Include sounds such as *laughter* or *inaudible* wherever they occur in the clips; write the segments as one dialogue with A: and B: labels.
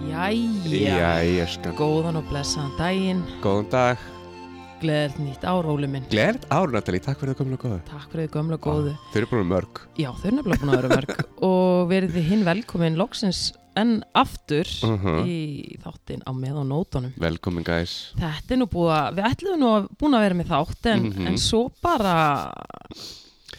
A: Jæja,
B: Jæja, skan.
A: góðan og blessaðan daginn,
B: sko Góðan dag.
A: gleðert nýtt ár, Óli minn.
B: Gleðilegt ár, Natalie. Takk fyrir það komin og góðu.
A: Takk fyrir þið gömla góðu.
B: Þau eru búin mörg.
A: Já, þau er nefnilega búin að vera
B: *laughs*
A: mörg og verið þið hinn velkomin loksins enn aftur
B: Mhm.
A: í þáttin á með og nótunum.
B: Velkomin, guys.
A: Þetta er nú búið að, við ætlum nú að búin að vera með þátt en,
B: Mhm.
A: en svo bara,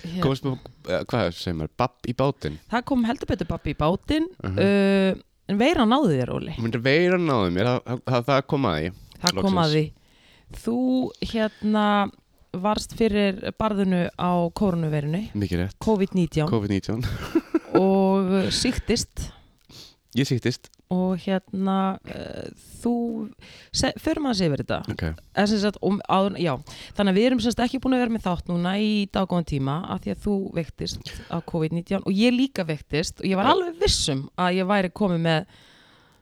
A: hér,
B: Komast með, eh, hvað segir maður, babb í bátinn.
A: það kom heldur betur pappi í bátinn
B: Mhm.
A: uh, en veira náði þér, Óli.
B: Hún er veiran náðum mér, það- það- það það kom að því.
A: Það kom
B: Loksins.
A: að því. Þú hérna varst fyrir barðinu á koronaveirinu,
B: Mikið rétt.
A: COVID-19
B: COVID-19.
A: og síktist
B: Ég sýttist.
A: og hérna uh, þú, se, förum að segja verið þetta
B: Ok.
A: Eða sem sagt, um, áður, já, þannig að við erum semst ekki búin að vera með þátt núna í daggóðan tíma af því að þú veiktist á COVID-19 og ég líka veiktist og ég var
B: Já.
A: alveg vissum að ég væri komið með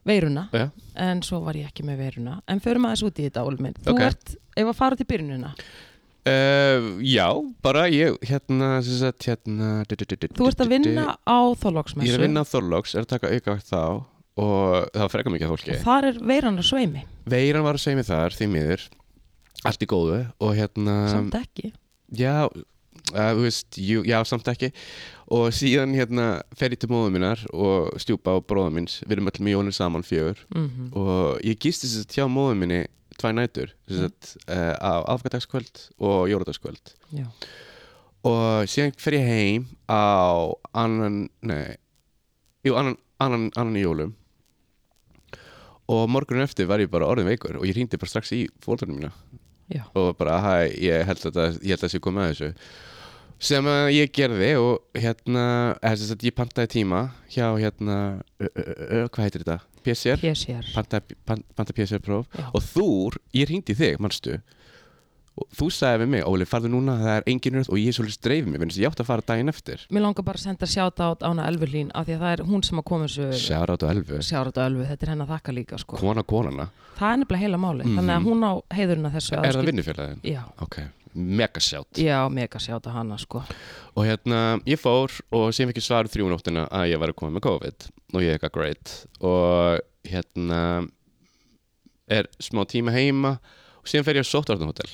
A: veiruna
B: Já.
A: en svo var ég ekki með veiruna en förum aðeins út í þetta, Óli minn þú
B: Ok.
A: ert, ef að fara til byrjunina
B: Uh, já, bara ég, hérna, sem sagt, hérna.
A: Þú ert að vinna á þólogsmessu
B: Ég er að vinna á Þorlóks, er að taka aukavakt þá og það var frekar mikið af fólki.
A: og þar er veiran á sveimi
B: Veiran var að segja mig þar, því miður Allt í góðu og hérna
A: samt ekki
B: Já, uh, þú veist, jú, já, samt ekki Og síðan hérna fer ég til móðu minnar og stjúpa á bróða minns Við erum öll mjög honum saman fjögur
A: mm
B: Og ég gisti þess að tjá móðu minni tvær nætur Þess að uh, á afgæðdagskvöld og jóladagskvöld
A: Já.
B: Og síðan fer ég heim á annan, nei Jú, annan, annan, annan í jólum Og morgunin eftir var ég bara orðin veikur og ég hringdi bara strax í fólkarnir mína
A: Já.
B: og bara, hæ, ég held að það- ég held að sé komið að þessu sem að ég gerði og hérna eða sem sagt, ég pantaði tíma hjá hérna, ö, ö, ö, ö, hvað heitir þetta? PCR?
A: PCR
B: Pantaði pan, panta PCR próf
A: Já.
B: og þú, ég hringdi í þig, manstu og þú sagði við mig, Óli, farðu núna það er engin röð og ég svolítið dreifði mig, vegna þess að ég átti að fara daginn eftir
A: Mér langar bara að senda shoutout ána Elfurlín af því að það er hún sem að koma þessu
B: Sjára á elfu,
A: sjárat á Elfu, þetta er henn að þakka líka sko.
B: kona konana
A: Það er nefnilega heila máli, þannig að hún á heiðurinn að þessu að
B: Mhm. Er það
A: skil-
B: vinnufélagin?
A: Já,
B: Ok, megasjátt
A: já, mega sjáta hana sko
B: Og hérna, ég fór og sem ekki svarið þrjú nóttina að ég var að koma með COVID og ég eitthvað great og hérna er smá tíma heima og síðan fer ég á Sotvarnahótel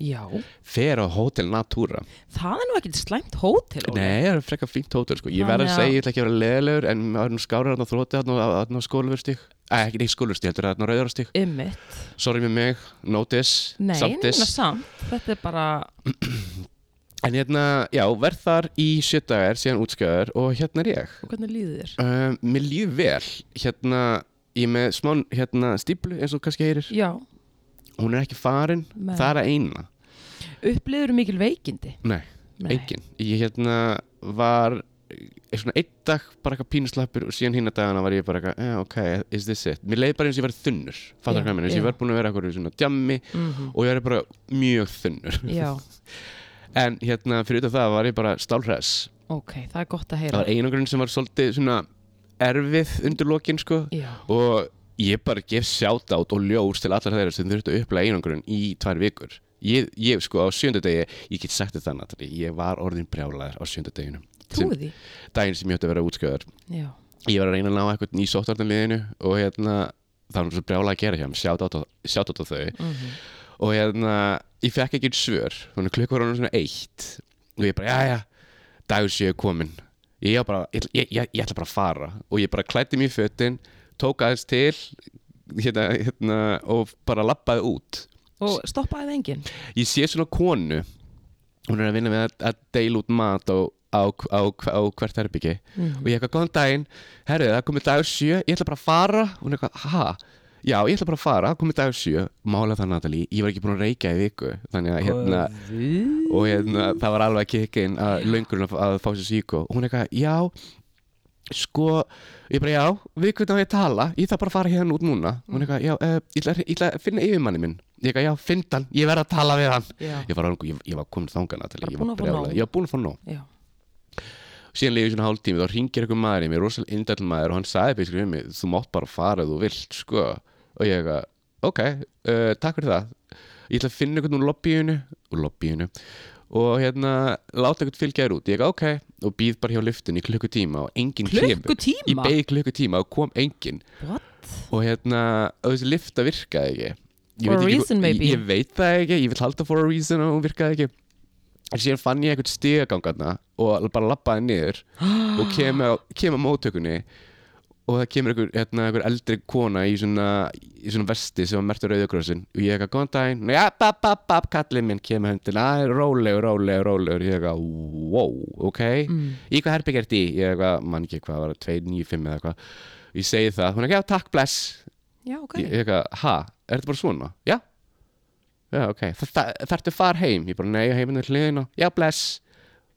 A: Já,
B: fer á Hótel Natura
A: það er nú ekkert slæmt hótel Óli.
B: Nei, það er frekar fínt hótel sko ég
A: Þannig
B: verð að
A: að-
B: segja, ég ætla ekki að vera leðilegur en maður er nú skárið hann á þróti hann á, hann á skóluverstík Eh, ekki, ekki skóluverstík, heldur hann á rauðarstík
A: Einmitt.
B: Sorry með mig, notice,
A: Nei, sko.
B: samt
A: neina
B: diss
A: samt, þetta er bara
B: En hérna, já, verð þar í sjö dagar síðan útskjöður og hérna er ég
A: og hvernig líður þér?
B: Uh, mér líður vel hérna, ég er með smá hérna, stíplu eins og kannski heyrir
A: Já,
B: hún er ekki farin,
A: Nei.
B: það er að eina
A: upplifur mikil veikindi
B: nei,
A: Nei.
B: engin ég hérna var eh, svona einn dag bara eitthvað pínuslappur og síðan hinna dagana var ég bara eitthvað, eh, ok, is this it mér leiði bara eins og ég verið þunnur, fattar
A: Já,
B: hvað mér eins og
A: já.
B: ég verið búin að vera eitthvað svona djammi
A: Mhm.
B: og ég verið bara mjög þunnur
A: Já,
B: en hérna fyrir utan það var ég bara stálhress
A: ok, það er gott að
B: það
A: heyra
B: var einangrun sem var svolítið svona erfið undir lokin sko
A: Já,
B: og ég bara gef sjátátt og ljós til allar þeirra sem þurftu að upplega einangrun í tvær vikur ég, ég sko á sjöndudegi, ég get sagt þetta Natali, ég var orðin brjálaður á sjöndudeginum
A: trúi því
B: daginn sem ég ætti að vera útskjöðar
A: Já,
B: ég var að reyna að ná eitthvað ný sóttarnarliðinu og hérna, það var svo brjálað að gera hjá mér sjátátt á, sjátátt á þau
A: mm
B: og hérna, ég fekk ekki svör þannig klukk var hann svona eitt og ég bara, já, já, dagur séu komin ég, á bara, ég, ég, ég, ég ætla bara að fara og ég bara klætti mér í fötin tók aðeins til hérna, hérna, og bara labbaði út
A: og stoppaði það enginn
B: ég sé svona konu hún er að vinna með að, að deila út mat á, á, á, á hvert herbyggi og ég eitthvað, góðan daginn, herrið, það er komið dagur sjö ég ætla bara að fara, hún er eitthvað, ha já, ég ætla bara að fara, það er komið dagur sjö mála það Natalie, ég var ekki búin að reykja í viku þannig að hérna og hérna, það var alveg að kikka inn að löngurinn að, að fá sér síko og hún er eitthvað, já sko, ég bara, já, við hvernig á ég að tala ég þarf bara að fara hérna út núna
A: Mm.
B: og hún er eitthvað, já, uh, ég ætla- ég ætla að finna yfirmanni minn ég eitthvað, já, finn hann, ég verð að tala við hann
A: Já,
B: ég var, orðin- ég, ég var komin þangað, Natalie,
A: Bara
B: ég
A: búin
B: var
A: að fá nóg.
B: brjálaður. ég var búin að fá nóg
A: já
B: síðan leiði svona hálf tími, þá ringir eitthvað maður í mig rosal indall maður og hann sagði basically við mig þú mátt bara fara ef þú vilt, sko og ég eitthvað, ok, uh, takk fyrir það ég ætla að finna einhvern úr lobbyinu úr lobbyinu og hérna, láta einhvern fylgja þér út ég eitthvað, ok, og býð bara hjá lyftin í klukkutíma og enginn
A: Klukkutíma?
B: kemur ég beið í klukkutíma og kom enginn
A: What?
B: og hérna, og þessi lyfta virkaði ekki
A: For a
B: veit ekki
A: reason,
B: hvo-
A: maybe.
B: ég, ég veit það ekki, ég vil halda for a reason og hún virkaði ekki en síðan fann ég einhvern stigagangana og bara labbaði niður
A: *gasps*
B: og kemur á- kemur á móttökunni og það kemur einhver, hérna, einhver eldri kona í svona, í svona vesti sem var mertur rauðakrossin og ég eitthvað, góðan daginn, ja, bap, bap, bap, kallið minn kemur hundin, að, rólegur, rólegur, rólegur ég eitthvað, wow, ok í hvað herbyggja ert í, ég eitthvað, mann ekki hvað var, 295 eða eitthvað ég segi það, hún er ekki, já, takk, bless
A: Já, ok.
B: ég ég eitthvað, ha, er þetta bara svona, já já, ok, Þa- þa- þarftu far heim ég bara, nei, heiminn er hliðina, já, bless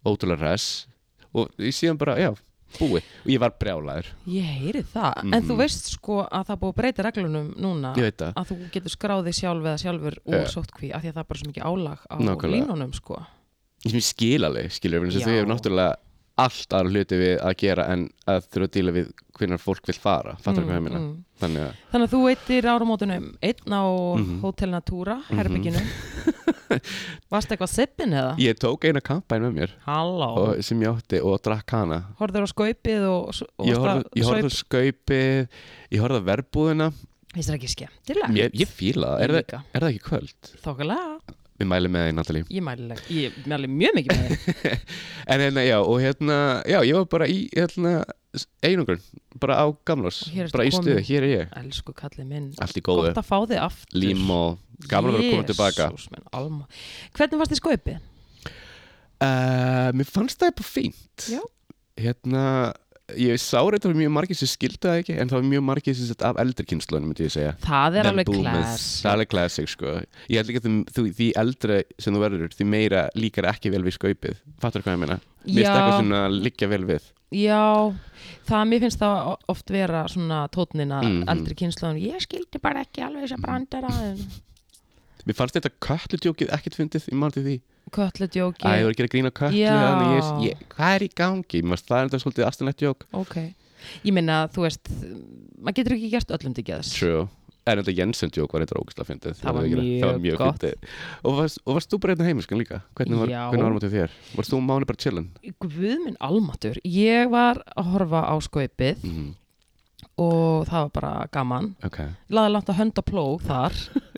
B: ótrúlega res og ég síðan bara, já, búið og ég var brjálæður
A: Ég heyri það, en þú veist sko að það er búið að breyta reglunum núna
B: Mhm. Ég veit það.
A: að þú getur skráðið sjálf eða sjálfur úr
B: Já.
A: sóttkví af því að það er bara svo mikið álag á
B: Nákvæmlega.
A: línunum sko
B: sem ég skil alveg, skilur við þess að
A: Já.
B: þau hefur náttúrulega allt aðra hluti við að gera en að þurfa að díla við hvernig fólk vil fara fattar mm, hvað ég meina
A: mm.
B: þannig að
A: Þannig að þú eittir áramótunum einn á
B: Mhm.
A: Hotel Natura,
B: *laughs*
A: herbygginu Varst eitthvað sippin eða?
B: ég tók eina kampæn með mér
A: Halló,
B: og, sem ég átti og drakk hana
A: horfður á skaupið og, s- og
B: ég horfði ég horfði
A: á
B: á skaupið, ég horfði á verbúðina
A: Finnst það ekki skemmtilegt?
B: ég, ég fíla það,
A: Ég
B: er, það-
A: líka.
B: er það ekki kvöld?
A: Þokkalega,
B: við mælum með það í Natalí
A: ég mæli, leg- ég mæli mjög mikið með þig
B: en hérna, já, og hérna, já, ég var bara í hérna, einungur, bara á gamlás
A: Og hér ertu
B: bara í
A: komin.
B: stuði, hér er ég
A: Elsku kallið minn,
B: allt í góðu,
A: gott að fá þig aftur
B: lím og gaman að vera komin tilbaka
A: Jesús minn, alma. Hvernig varst þið skaupið?
B: Uh, mér fannst það eitthvað fínt
A: Já.
B: Hérna, ég sá reynda mjög margir sem skildi það ekki En það var mjög margir sem sett af eldri kynnslunum myndi ég segja
A: Það er
B: Them
A: alveg
B: boomers.
A: klæs
B: Það er alveg classic sko Ég held ekki að þeim- þú, því eldra sem þú verður Því meira líkar ekki vel við skaupið Fattar hvað ég meina?
A: Já.
B: Mér finnst eitthvað svona liggja vel við
A: Já, það mér finnst það o- oft vera svona tótnin að
B: Mhm.
A: eldri kynnslóðan Ég skildi bara ekki alveg þess að brandara en
B: Mér fannst þetta köllutjókið ekkert fundið Ég mánti því Æ,
A: Kölludjóki
B: ég var ekki að grína köllu
A: Já.
B: þannig ég, ég, Hvað er í gangi? Mér fannst það er þetta svolítið astinett jók
A: Ok, ég meina þú veist maður getur ekki gert öllum til geðs
B: True En þetta Jensen joke var eitthvað ógæslega fyndið
A: Það var
B: Ég veit ekki, það var
A: mjög
B: mjög
A: gott.
B: fyndið Og, varst- og varst þú bara hérna heimiskan líka? Hvernig var,
A: Já.
B: hvernig var mútið þér? Varst þú mánu bara chillin?
A: Guð minn almatur, ég var að horfa á skaupið
B: Mm,
A: og það var bara gaman
B: ok
A: laði langt að hönda plóg
B: *laughs*
A: þar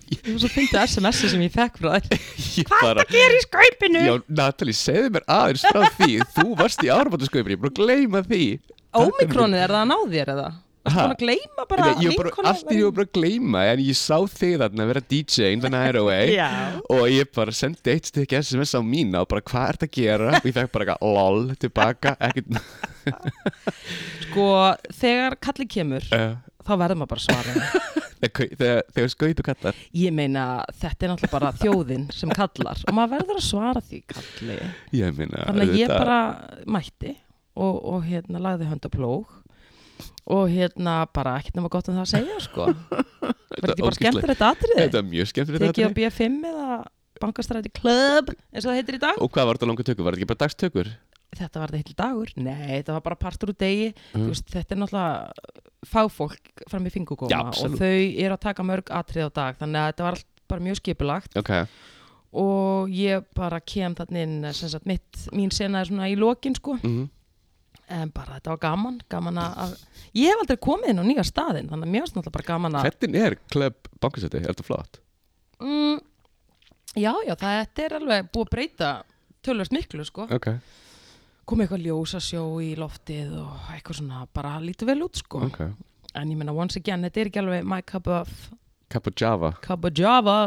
A: og svo fyndi SMS-i sem ég fekk frá þér
B: Ég bara
A: Ég er í skaupinu
B: Já, Natalie, segðu mér aðeins frá því Þú varst í áramáttasköpri, ég er búin að gleyma því
A: Ómikronið, er það að ná þér eða? Það er
B: Ha?
A: búin að gleyma bara
B: Bara, ég var bara, allt í því ég var bara að gleyma En ég sá þig þarna að vera DJ in the night away
A: Já
B: Og ég bara sendi eitt stykki SMS á mína Og bara, hvað ert að gera? Og ég fekk bara eitthvað, lol, tilbaka
A: *laughs*
B: Ekkert,
A: Sko, þegar kallið kemur
B: uh,
A: þá verður maður bara að
B: *laughs*
A: svara
B: þegar, þegar, þegar skaupi kallar
A: Ég meina, þetta er náttúrulega bara þjóðin sem kallar og maður verður að svara því kalli
B: Ég meina
A: Þannig að ég
B: auðvitað-
A: bara mætti og, og hérna lagði hönda plóg og hérna bara ekkert nema gott um það að segja
B: *laughs*
A: sko Verður ekki bara
B: ógeðslegt.
A: skemmtir þetta atriði?
B: Þetta er mjög skemmtilegt
A: Tekið á
B: atriði.
A: B5 eða bankastræti Club eins og það heitir í dag
B: Og hvað var þetta langa tökur? Var þetta ekki bara dagstökur?
A: þetta var það heill dagur, nei, þetta var bara partur úr degi,
B: Mm.
A: þú veist, þetta er náttúrulega fáfólk fram í
B: Já,
A: fingugóma og
B: absolutt.
A: þau eru að taka mörg atrið á dag þannig að þetta var allt bara mjög skipulagt
B: Ok,
A: og ég bara kem þannig inn sem sagt mitt, mín sena er svona í lokin sko,
B: mm
A: en bara þetta var gaman gaman að, að ég hef aldrei komið inn á nýja staðinn, þannig að mér varst náttúrulega bara gaman að
B: hvernig er klöpp bankasæti? Er þetta flott?
A: mm, já, já, það, þetta er alveg búið að breyta tölvöld miklu sko,
B: Ok,
A: komið eitthvað ljósasjó í loftið og eitthvað svona bara lítið vel út sko
B: ok
A: en ég meina once again, þetta er ekki alveg my cup of,
B: Kappa Java
A: cup of java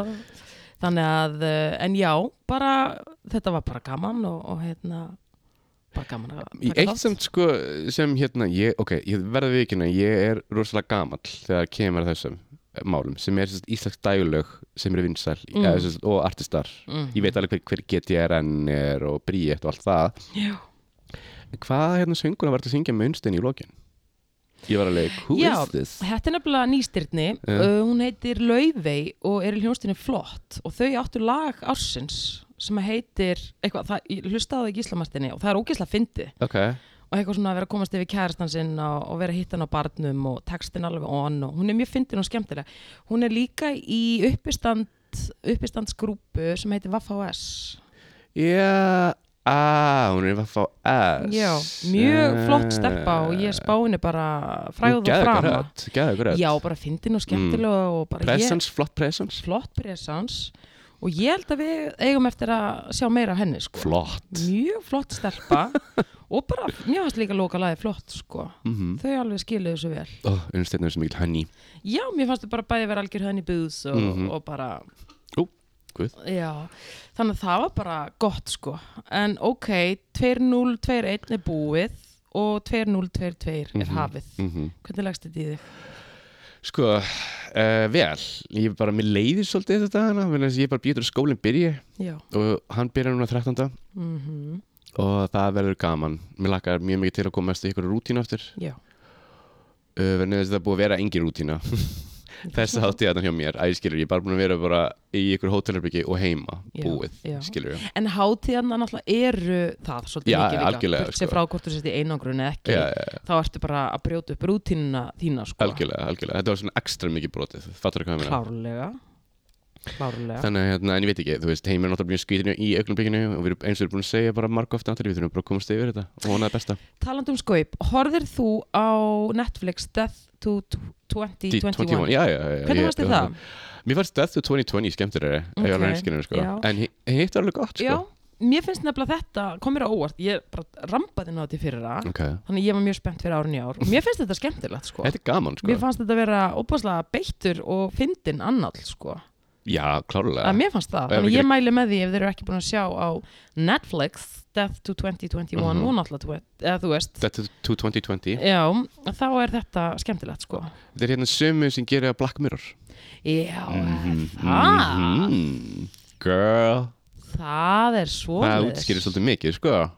A: þannig að, eh, en já bara, þetta var bara gaman og, og hérna, bara gaman að
B: Í
A: taka
B: eitt
A: þátt.
B: sem sko, sem hérna ég, Ok, ég verða við ekki Ég er rosalega gamall þegar kemur að þessum eh, málum sem er sérst, íslensk dægulög sem eru vinsæl
A: Mm.
B: eða, sérst, og artistar
A: Mm.
B: ég veit alveg hver, hver GTRN er og Bríett og allt það
A: Já.
B: En hvað hérna sönguna var þetta að syngja með unnstein í lokin? Ég var alveg, who
A: Já,
B: is this?
A: þetta er nefnilega nýstyrni
B: Já.
A: uh, hún heitir Laufey og er í hljónstinu flott og þau áttu lag ársins sem heitir, eitthvað, það, ég hlustaði á það í gíslamartinni og það er ógeðslega fyndi
B: Ok,
A: og eitthvað svona að vera að komast yfir kærastan sinn og, og vera að hitta hann á barnum og textin alveg on og hún er mjög fyndin og skemmtileg hún er líka í uppistand uppistandsgrúpu sem heitir Vaffa OS
B: Já, að, hún er að fá S
A: Já, mjög flott stelpa og ég spá henni bara fræð og frama
B: Gæða gröð
A: Já, bara fyndin og skemmtileg
B: Mm.
A: og bara ég-
B: Presence, flott presence
A: flott presens og ég held að við eigum eftir að sjá meira af henni sko.
B: Flott
A: mjög flott stelpa og bara mjög hans líka loka lagi flott sko. þau alveg skiluðu þessu vel
B: Ó, unnstætnum sem mikil hönni
A: já, mér fannst þau bara bæði vera algjör henni búðs og, og bara
B: Ú, guð
A: já, þannig að það var bara gott sko, en ok 2-0-2-1 er búið og 2-0-2-2 er hafið hvernig lagst þetta í þig?
B: Sko, uh, vel, ég bara, mér leiðir svolítið þetta hana, þannig að ég bara býtur að skólinn byrji
A: já, Mhm.
B: og hann byrjar núna 13. og það verður gaman. Mér lakkar mjög mikið til að komast í ykkur rútínu aftur,
A: já,
B: uh, verður þess að það er búið að vera engin rútína. Þess að þátti þetta hjá mér, æ, skilur, ég er bara búin að vera bara í ykkur hótelherbyggi og heima,
A: Já,
B: búið,
A: já.
B: skilur ég.
A: En hátíðarna náttúrulega eru það svolítið
B: Já,
A: mikið líka.
B: algjörlega,
A: Burt sér
B: sko.
A: frá hvort þú sett í einangrun eða ekki,
B: Já, já, já.
A: þá ertu bara að brjóta upp rútínuna þína, sko.
B: Algjörlega, algjörlega. Þetta var svona ekstra mikið brotið, fattur hvað ég meina?
A: Klárlega. Klárlega.
B: Þannig að, hérna, en ég veit ekki, þú veist, heimir er náttúrulega mjög skvítin í augnabíkinu og við erum eins og við erum búin að segja bara marg ofta við þurfum bara að komast yfir þetta og vonað besta.
A: Taland um skaup, horfir þú á Netflix Death to 2021?
B: já, já, já, já,
A: Hvernig
B: ég-
A: fannst þér það?
B: Mér fannst Death to 2020 skemmtilegri okay.
A: Ok,
B: ennskinu, sko.
A: já.
B: en hi- hitt var alveg gott sko.
A: Já, mér finnst nefnilega þetta, kom mér á óvart, ég bara rambaði inn á þetta fyrir það,
B: okay.
A: þannig að ég var mjög spennt fyrir árun í ár. Og mér finnst þetta skemmtilegt, sko.
B: Þetta er gaman sko.
A: Mér fannst þetta vera óbúslega beittur og fyndin annál, sko.
B: Já, klárlega
A: að mér fannst það,
B: Já,
A: þannig
B: við
A: ég
B: getum-
A: mæli með því ef þeir eru ekki búin að sjá á Netflix Death to 2021
B: Mhm.
A: og náttúrulega, twe- eða þú veist
B: Death to 2020
A: já, þá er þetta skemmtilegt sko
B: Þetta er hérna sömu sem gerir að Black Mirror
A: já, það
B: Mhm. Girl
A: það er
B: Það útskýrir
A: svo
B: svolítið mikið sko.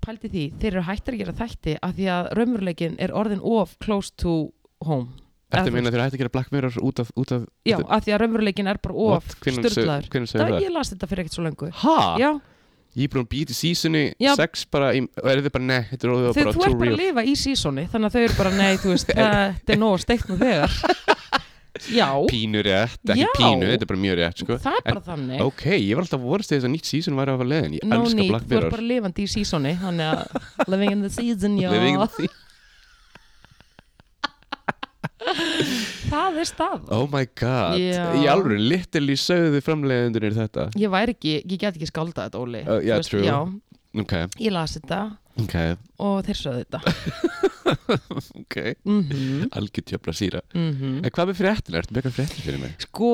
A: pældi því, þeir eru hættir að gera þætti af því að raumurleikin er orðin of close to home
B: Þetta
A: Eða
B: meina
A: þú-
B: þegar hætti að gera Black Mirror út af, út af
A: já,
B: út af-
A: af því að raumurleikin er bara of
B: What? Hvenær sög-
A: styrlaður
B: hvenær sögðu
A: það
B: það?
A: ég las þetta fyrir ekkert svo lengu
B: Ha?
A: já,
B: Ég er búin að býta í seasoni
A: Já.
B: 6 bara í, og er þið bara ne, þetta er orðið
A: þau, þú
B: bara too
A: ert bara að
B: real
A: lifa í sísoni þannig að þau eru bara, nei, þú
B: *laughs*
A: veist, þetta er nóg steikt nú þegar já,
B: Pínu rétt, ekki
A: Já.
B: pínu, þetta er bara mjög rétt sko.
A: það er
B: En-
A: bara þannig
B: Ok, ég var alltaf vorst þess að nýtt season væri að fara leiðin Ég
A: no
B: elska
A: need,
B: Black
A: þú
B: Mirror
A: ert bara lifandi í sísoni þannig
B: *laughs*
A: að living in the season, já
B: Living in the-
A: það er stað
B: Oh my god
A: Já.
B: Í alveg, literally sögðu framleiðundunir þetta
A: ég væri ekki, ég get ekki skálda þetta, Óli
B: Uh, já,
A: Þú veist,
B: true.
A: já,
B: Ok,
A: ég las þetta
B: ok,
A: og þeir sögðu þetta
B: ok
A: Mhm,
B: Algjör tjöfla síra
A: mhm.
B: En hvað með fréttina? Ertu með eitthvað fréttir fyrir mig?
A: sko,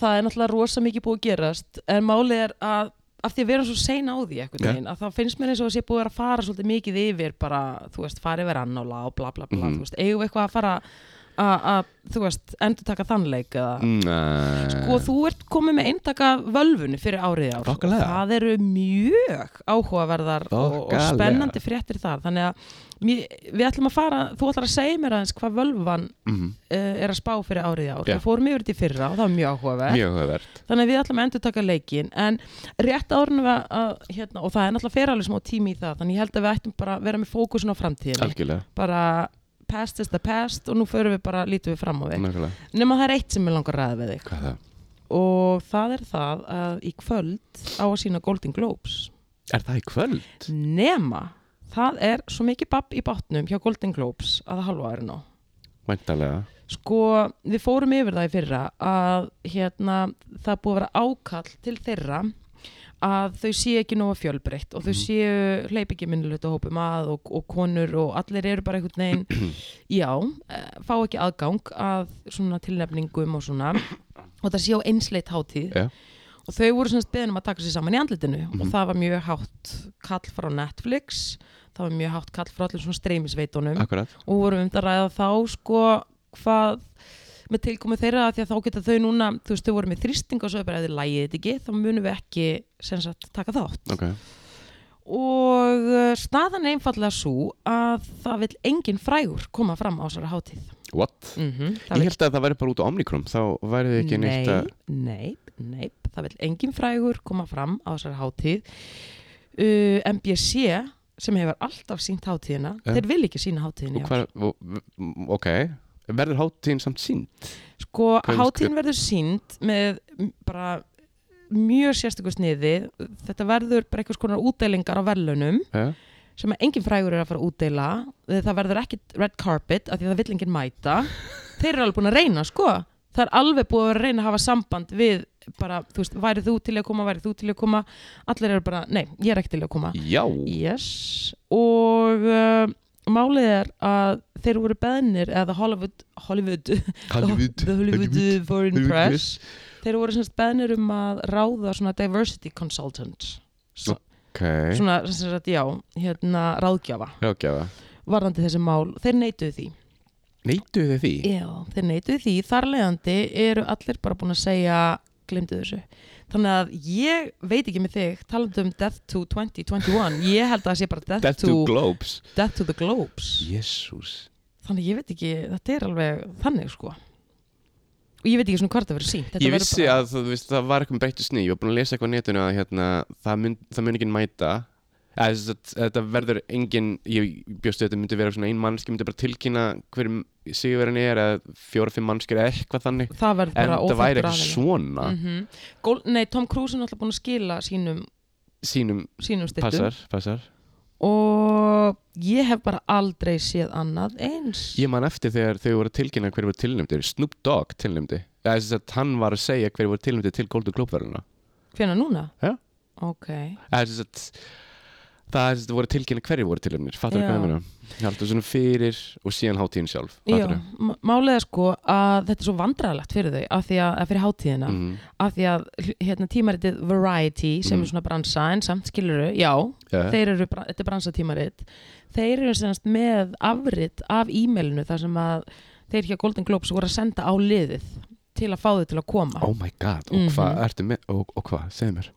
A: það er náttúrulega rosa mikið búið að gerast en málið er að af því að við erum svo sein á því eitthvað
B: Já.
A: yeah. að þá finnst mér eins og þessi búið að vera að fara svolítið mikið yfir bara, þú veist, farið vera annála og bla bla bla,
B: Mhm.
A: þú veist, eigum við eitthvað að fara að- að, þú veist, endur taka þannleik eða
B: Mm. Nei
A: Sko, þú ert komið með eintaka völfunni fyrir árið í ár.
B: Þokkalega.
A: Það eru mjög áhugaverðar og, og
B: Þokkalega.
A: spennandi fréttir þar. Þannig að mér, við ætlum að fara, þú ætlar að segja mér aðeins hvað völvan
B: Mhm.
A: uh, er að spá fyrir árið í ár.
B: Já.
A: Við fórum yfir þetta í fyrra og það var mjög áhugaverð.
B: Mjög höfvert
A: Þannig að við ætlum að endur taka leikin. En rétt árunum við að, hérna, og það er náttúrulega fyrir alveg smá tími í það. Þannig ég held að við ættum bara að vera með fókusin á framtíðinni.
B: Algjörlega,
A: Bara past is the past og nú förum við bara, lítum við fram á við.
B: nákvæmlega
A: Nefnum það er eitt sem ég langar að ræða við þig
B: Hvað er það?
A: og það er það að í kvöld á að sína Golden Globes
B: Er það í kvöld?
A: nema það er svo mikið babb í bátnum hjá Golden Globes að það halva er nú
B: Væntalega
A: sko við fórum yfir það í fyrra að hérna það er búið að vera ákall til þeirra að þau séu ekki nóga fjölbreytt og þau séu hleyp ekki minnulegta hópum að og, og konur og allir eru bara einhvern veginn já, eh, fá ekki aðgang að svona tilnefningum og svona og það séu einsleitt hátíð
B: Já.
A: og þau voru semst beðin um að taka sér saman í andlitinu og það var mjög hátt kall frá Netflix það var mjög hátt kall frá allir svona streymisveitunum
B: Akkurat
A: og vorum um þetta að ræða þá sko hvað með tilkomu þeirra af því að þá geta þau núna þú veist þau voru með þrýsting og svo er bara ef þið lægið þetta ekki þá munum við ekki sem sagt taka þátt
B: Ok
A: og uh, staðan er einfallega svo að það vil engin frægur koma fram á þessari hátíð
B: What?
A: mm -hmm,
B: Ég held að það væri bara út á Omnicrum Þá væri þið ekki neitt
A: nei,
B: að
A: nei, nei, það vil engin frægur koma fram á þessari hátíð uh, MBC sem hefur alltaf sínt hátíðina
B: Já.
A: þeir vil ekki sína hátíðina
B: og
A: í ár.
B: hvar, og, m- ok verður hátíðin samt sínt
A: sko
B: hvað-
A: hátíðin verður sínd með m- bara mjög sérstöku sniði þetta verður bara einhvers konar útdeilingar á verðlunum
B: ja?
A: sem að engin frægur er að fara að útdeila það verður ekki red carpet af því að það vill enginn mæta þeir eru alveg búin að reyna sko það er alveg búin að vera að reyna að hafa samband við bara, þú veist, værið þú til að koma, værið þú til að koma allir eru bara, nei, ég er ekki til að koma
B: já,
A: yes og uh, málið er að þeir voru beðnir eða Hollywood, Hollywood,
B: Hollywood,
A: the Hollywood, uh,
B: Hollywood,
A: Foreign
B: Hollywood
A: Press þeir voru semst beðnir um að ráða svona diversity consultant so,
B: ok,
A: svona, sem sagt, já, hérna ráðgjafa
B: rákjáða
A: varðandi þessi mál, þeir neituðu því
B: neytu þið því?
A: já, þeir neituðu því, þar leiðandi eru allir bara búin að segja glemdu þessu, þannig að ég veit ekki með þig, talandi um Death to 2021, ég held að það sé bara Death,
B: Death to
A: to,
B: Globes
A: Death to the Globes
B: jésús
A: þannig ég veit ekki, þetta er alveg þannig sko og ég veit ekki svona hvað þetta verður sínt
B: Ég vissi að það, þú veist, það var eitthvað breyttu sný Ég var búin að lesa eitthvað á netinu að hérna, það, mun, það mun ekki mæta Eða, þess að, að þetta verður engin Ég bjóst við að þetta myndi vera svona ein mannski myndi bara tilkynna hverjum sigurverðin er eða fjóra-fimm mannskir eða eitthvað þannig
A: það verður
B: En
A: bara
B: það væri
A: óþættur
B: ekki
A: aðeins
B: svona
A: mm Nei, Tom Cruise er náttúrulega búin að skila sínum,
B: Sýnum
A: sínum styrtum
B: passar, passar
A: og ég hef bara aldrei séð annað eins
B: Ég man eftir þegar þau voru að tilkynna hverju voru tilnæmdir Snoop Dogg tilnæmdi Eða þess að hann var að segja hverju voru tilnæmdi til Golden Globe-verðina
A: Hvenær núna?
B: Já.
A: Ok,
B: Eða þess að það er þess að voru að tilkynna hverju voru tilnæmdir Fattar hvað
A: Já.
B: ég meina? Ég held að svona fyrir og síðan hátíðin sjálf
A: já,
B: fattarðu?
A: m- málið er sko að þetta er svo vandræðalegt fyrir þau af því að, að fyrir hátíðina
B: Mhm.
A: af því að hérna, tímaritið Variety
B: Mm.
A: sem er svona bransa en samt skiluru, já,
B: Já.
A: þeir eru, bra- þetta er bransatímarit þeir eru semast með afrit af e-mailinu þar sem að þeir hjá Golden Globes voru að senda á liðið til að fá þau til að koma
B: Oh my god, og
A: Mhm.
B: hvað ertu með og, og hvað, segðu mér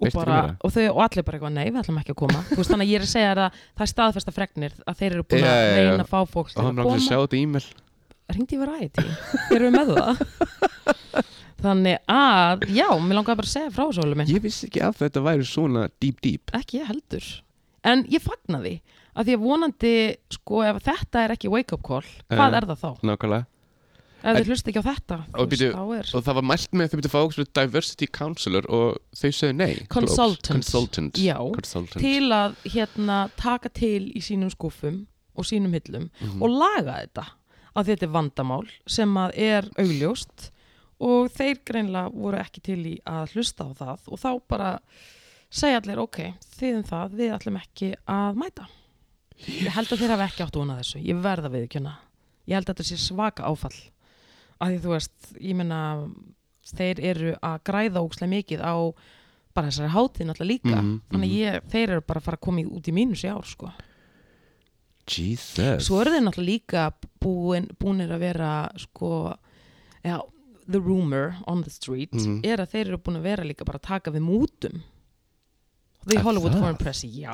A: og,
B: veistu
A: bara,
B: meira?
A: og, þau, og allir bara eitthvað, nei, við ætlum ekki að koma Þú veist, þannig að ég er að segja þér að það er staðfesta fregnir að þeir eru búin
B: Já, já,
A: að
B: já.
A: reyna að fá fólk
B: Og
A: til
B: hann
A: að
B: langar að sjá
A: koma
B: þetta e-mail
A: ringdi í Variety, erum við með það
B: *laughs*
A: þannig að, já, mér langaði bara að segja frá svo minn,
B: Ég vissi ekki að þetta væri svona deep deep
A: ekki ég heldur en ég fagna því, að því að vonandi sko, ef þetta er ekki wake up call hvað
B: Já.
A: er það þá?
B: Nákvæmlega
A: Ef þið hlust ekki á þetta
B: Og
A: þú veist,
B: býtu-
A: þá er-
B: Og það var mælt með að þau byrja að fá okkur diversity counselor og þau sögðu nei Globes.
A: Consultant.
B: Consultant
A: Já.
B: Consultant.
A: Til að hérna, taka til í sínum skúfum og sínum hillum og laga þetta að þetta er vandamál sem að er augljóst og þeir greinlega voru ekki til í að hlusta á það og þá bara segja allir ok, þið um það, við ætlum ekki að mæta Ég held að þeir hafa ekki átt vona þessu, ég verða við ekki Ég held að þetta sé svaka áfall að því þú veist, ég meina þeir eru að græða ógslega mikið á bara þessari hátíð náttúrulega líka
B: Mhm,
A: þannig að
B: mhm.
A: ég, þeir eru bara að fara að koma í, út í mínus í ár sko.
B: Jesus
A: svo eru þeir náttúrulega líka búin, búinir að vera sko, já, the rumor on the street
B: Mhm.
A: er að þeir eru búin að vera líka bara að taka við mútum The
B: Er
A: Hollywood
B: það?
A: Foreign Press, já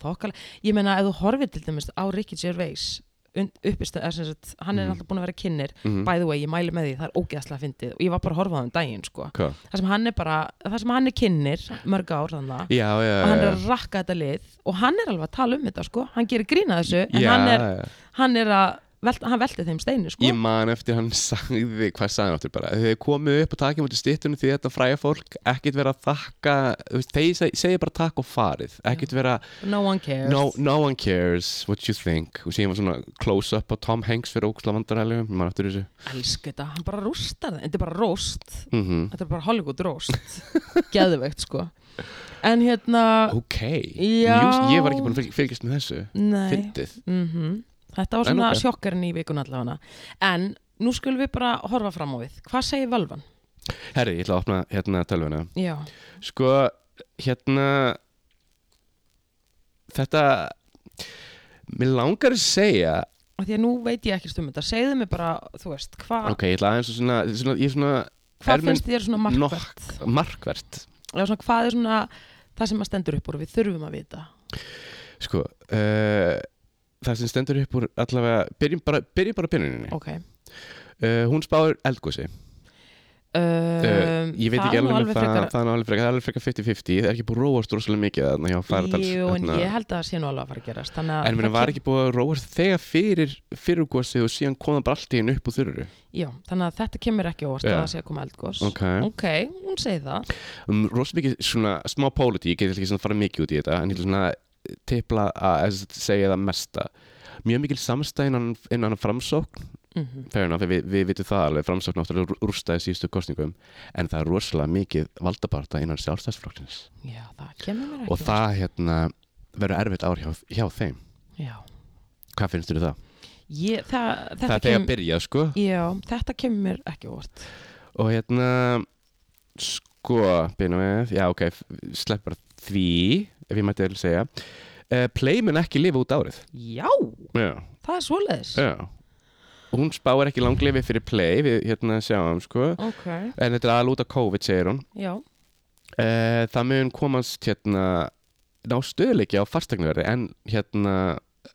A: þokkala, ég meina ef þú horfir til dæmis á Ricky Gervais und- uppistu, eða sem sagt, hann er
B: Mhm.
A: náttúrulega búin að vera kynir
B: Mhm.
A: by the way, ég mæli með því, það er ógeðslega fyndið og ég var bara að horfa á það um daginn, sko
B: Hvað?
A: það sem hann er bara, það sem hann er kynnir mörg ár þannig
B: Já, já,
A: og hann
B: já,
A: er að rakka þetta lið og hann er alveg að tala um þetta, sko hann gerir grína þessu, en
B: já.
A: hann er,
B: já.
A: hann er að velta, hann velti þeim steinu, sko
B: Ég man eftir hann sagði, hvað sagði hann áttur bara Þau komið upp og takið mútið stýttunum því þetta fræja fólk ekkert vera að þakka þú veist, þeir seg- segja bara takk og farið ekkert vera
A: no one cares
B: no, no one cares what you think og síðan var svona close up á Tom Hanks fyrir óksla vandarælu, maður eftir þessu
A: elsku þetta, hann bara rústar það, þetta er bara rúst
B: mm -hmm.
A: þetta er bara Hollywood rúst, *laughs* geðveikt, sko en hérna,
B: ok,
A: Já.
B: News, ég var ekki búin að fylg- fylgjast með þessu
A: nei
B: fyndið,
A: mm Þetta var
B: En
A: svona
B: ok.
A: sjokkarinn í vikun allavega En nú skulum við bara horfa fram á við Hvað segir Völvan?
B: herri, ég ætla að opna hérna tölvuna,
A: Já,
B: sko hérna þetta mér langar að segja
A: af því að nú veit ég ekkert um þetta segðu mig bara, þú veist, hva,
B: ok, ég ætla aðeins að svona, svona, ég er svona er
A: hvað
B: minn
A: finnst þér svona markvært
B: markvert
A: eða svona hvað er svona það sem að stendur upp úr við þurfum að vita
B: sko uh, það sem stendur upp úr Eh, allavega byrjum bara, byrjum bara á byrjuninni
A: ok,
B: Uh, hún spáir eldgósi
A: Um,
B: ég veit
A: það
B: ekki
A: er nú
B: alveg með
A: alveg
B: það,
A: frekar-
B: það er nú alveg frekar, það er alveg frekar 50-50 það er ekki búið að róast rosalega mikið þarna hjá Fagradals
A: Jú, en
B: þarna.
A: ég held að það sé nú alveg að fara að gerast Þannig að
B: hérna. en
A: það
B: það var
A: kem-
B: ekki búið að róast þegar fyrir fyrirgósið og síðan kom það bara allt í einu upp úr þurru
A: Já, þannig að þetta kemur ekki óvart
B: Já.
A: að það sé að koma eldgós
B: ok,
A: ok, hún segir það
B: um, rosa mikið svona smá pólitík, ég get ekki svona fara mikið út í þetta en ég ætla svona tipla að eða sem sagt, segja það mesta mjög mikil samstæð innan, innan framsókn
A: mm
B: fair enough, við, við vitum það alveg framsókn náttúrulega rú- rústaði síðustu kostningum en það er rosalega mikið valdabarta innan sjálfstæðsflokknins
A: Já, það kemur mér ekki
B: og það hérna verður erfitt ár hjá, hjá þeim
A: óvart. Já,
B: hvað finnst þér um það?
A: ég, það,
B: það
A: þetta,
B: er þegar
A: kemur,
B: byrjað sko
A: já, þetta kemur mér ekki óvart
B: og hérna sko, byrjum við já ok, f- sleppar því ef ég mætti að segja uh, Play mun ekki lifa út árið
A: Já,
B: já,
A: það er svoleiðis
B: já hún spáir ekki langlifi fyrir Play við hérna sjáum sko
A: Ok,
B: en þetta er alveg út af COVID segir hún
A: já,
B: uh, það mun komast hérna ná stöðleiki á fastegnaverði en hérna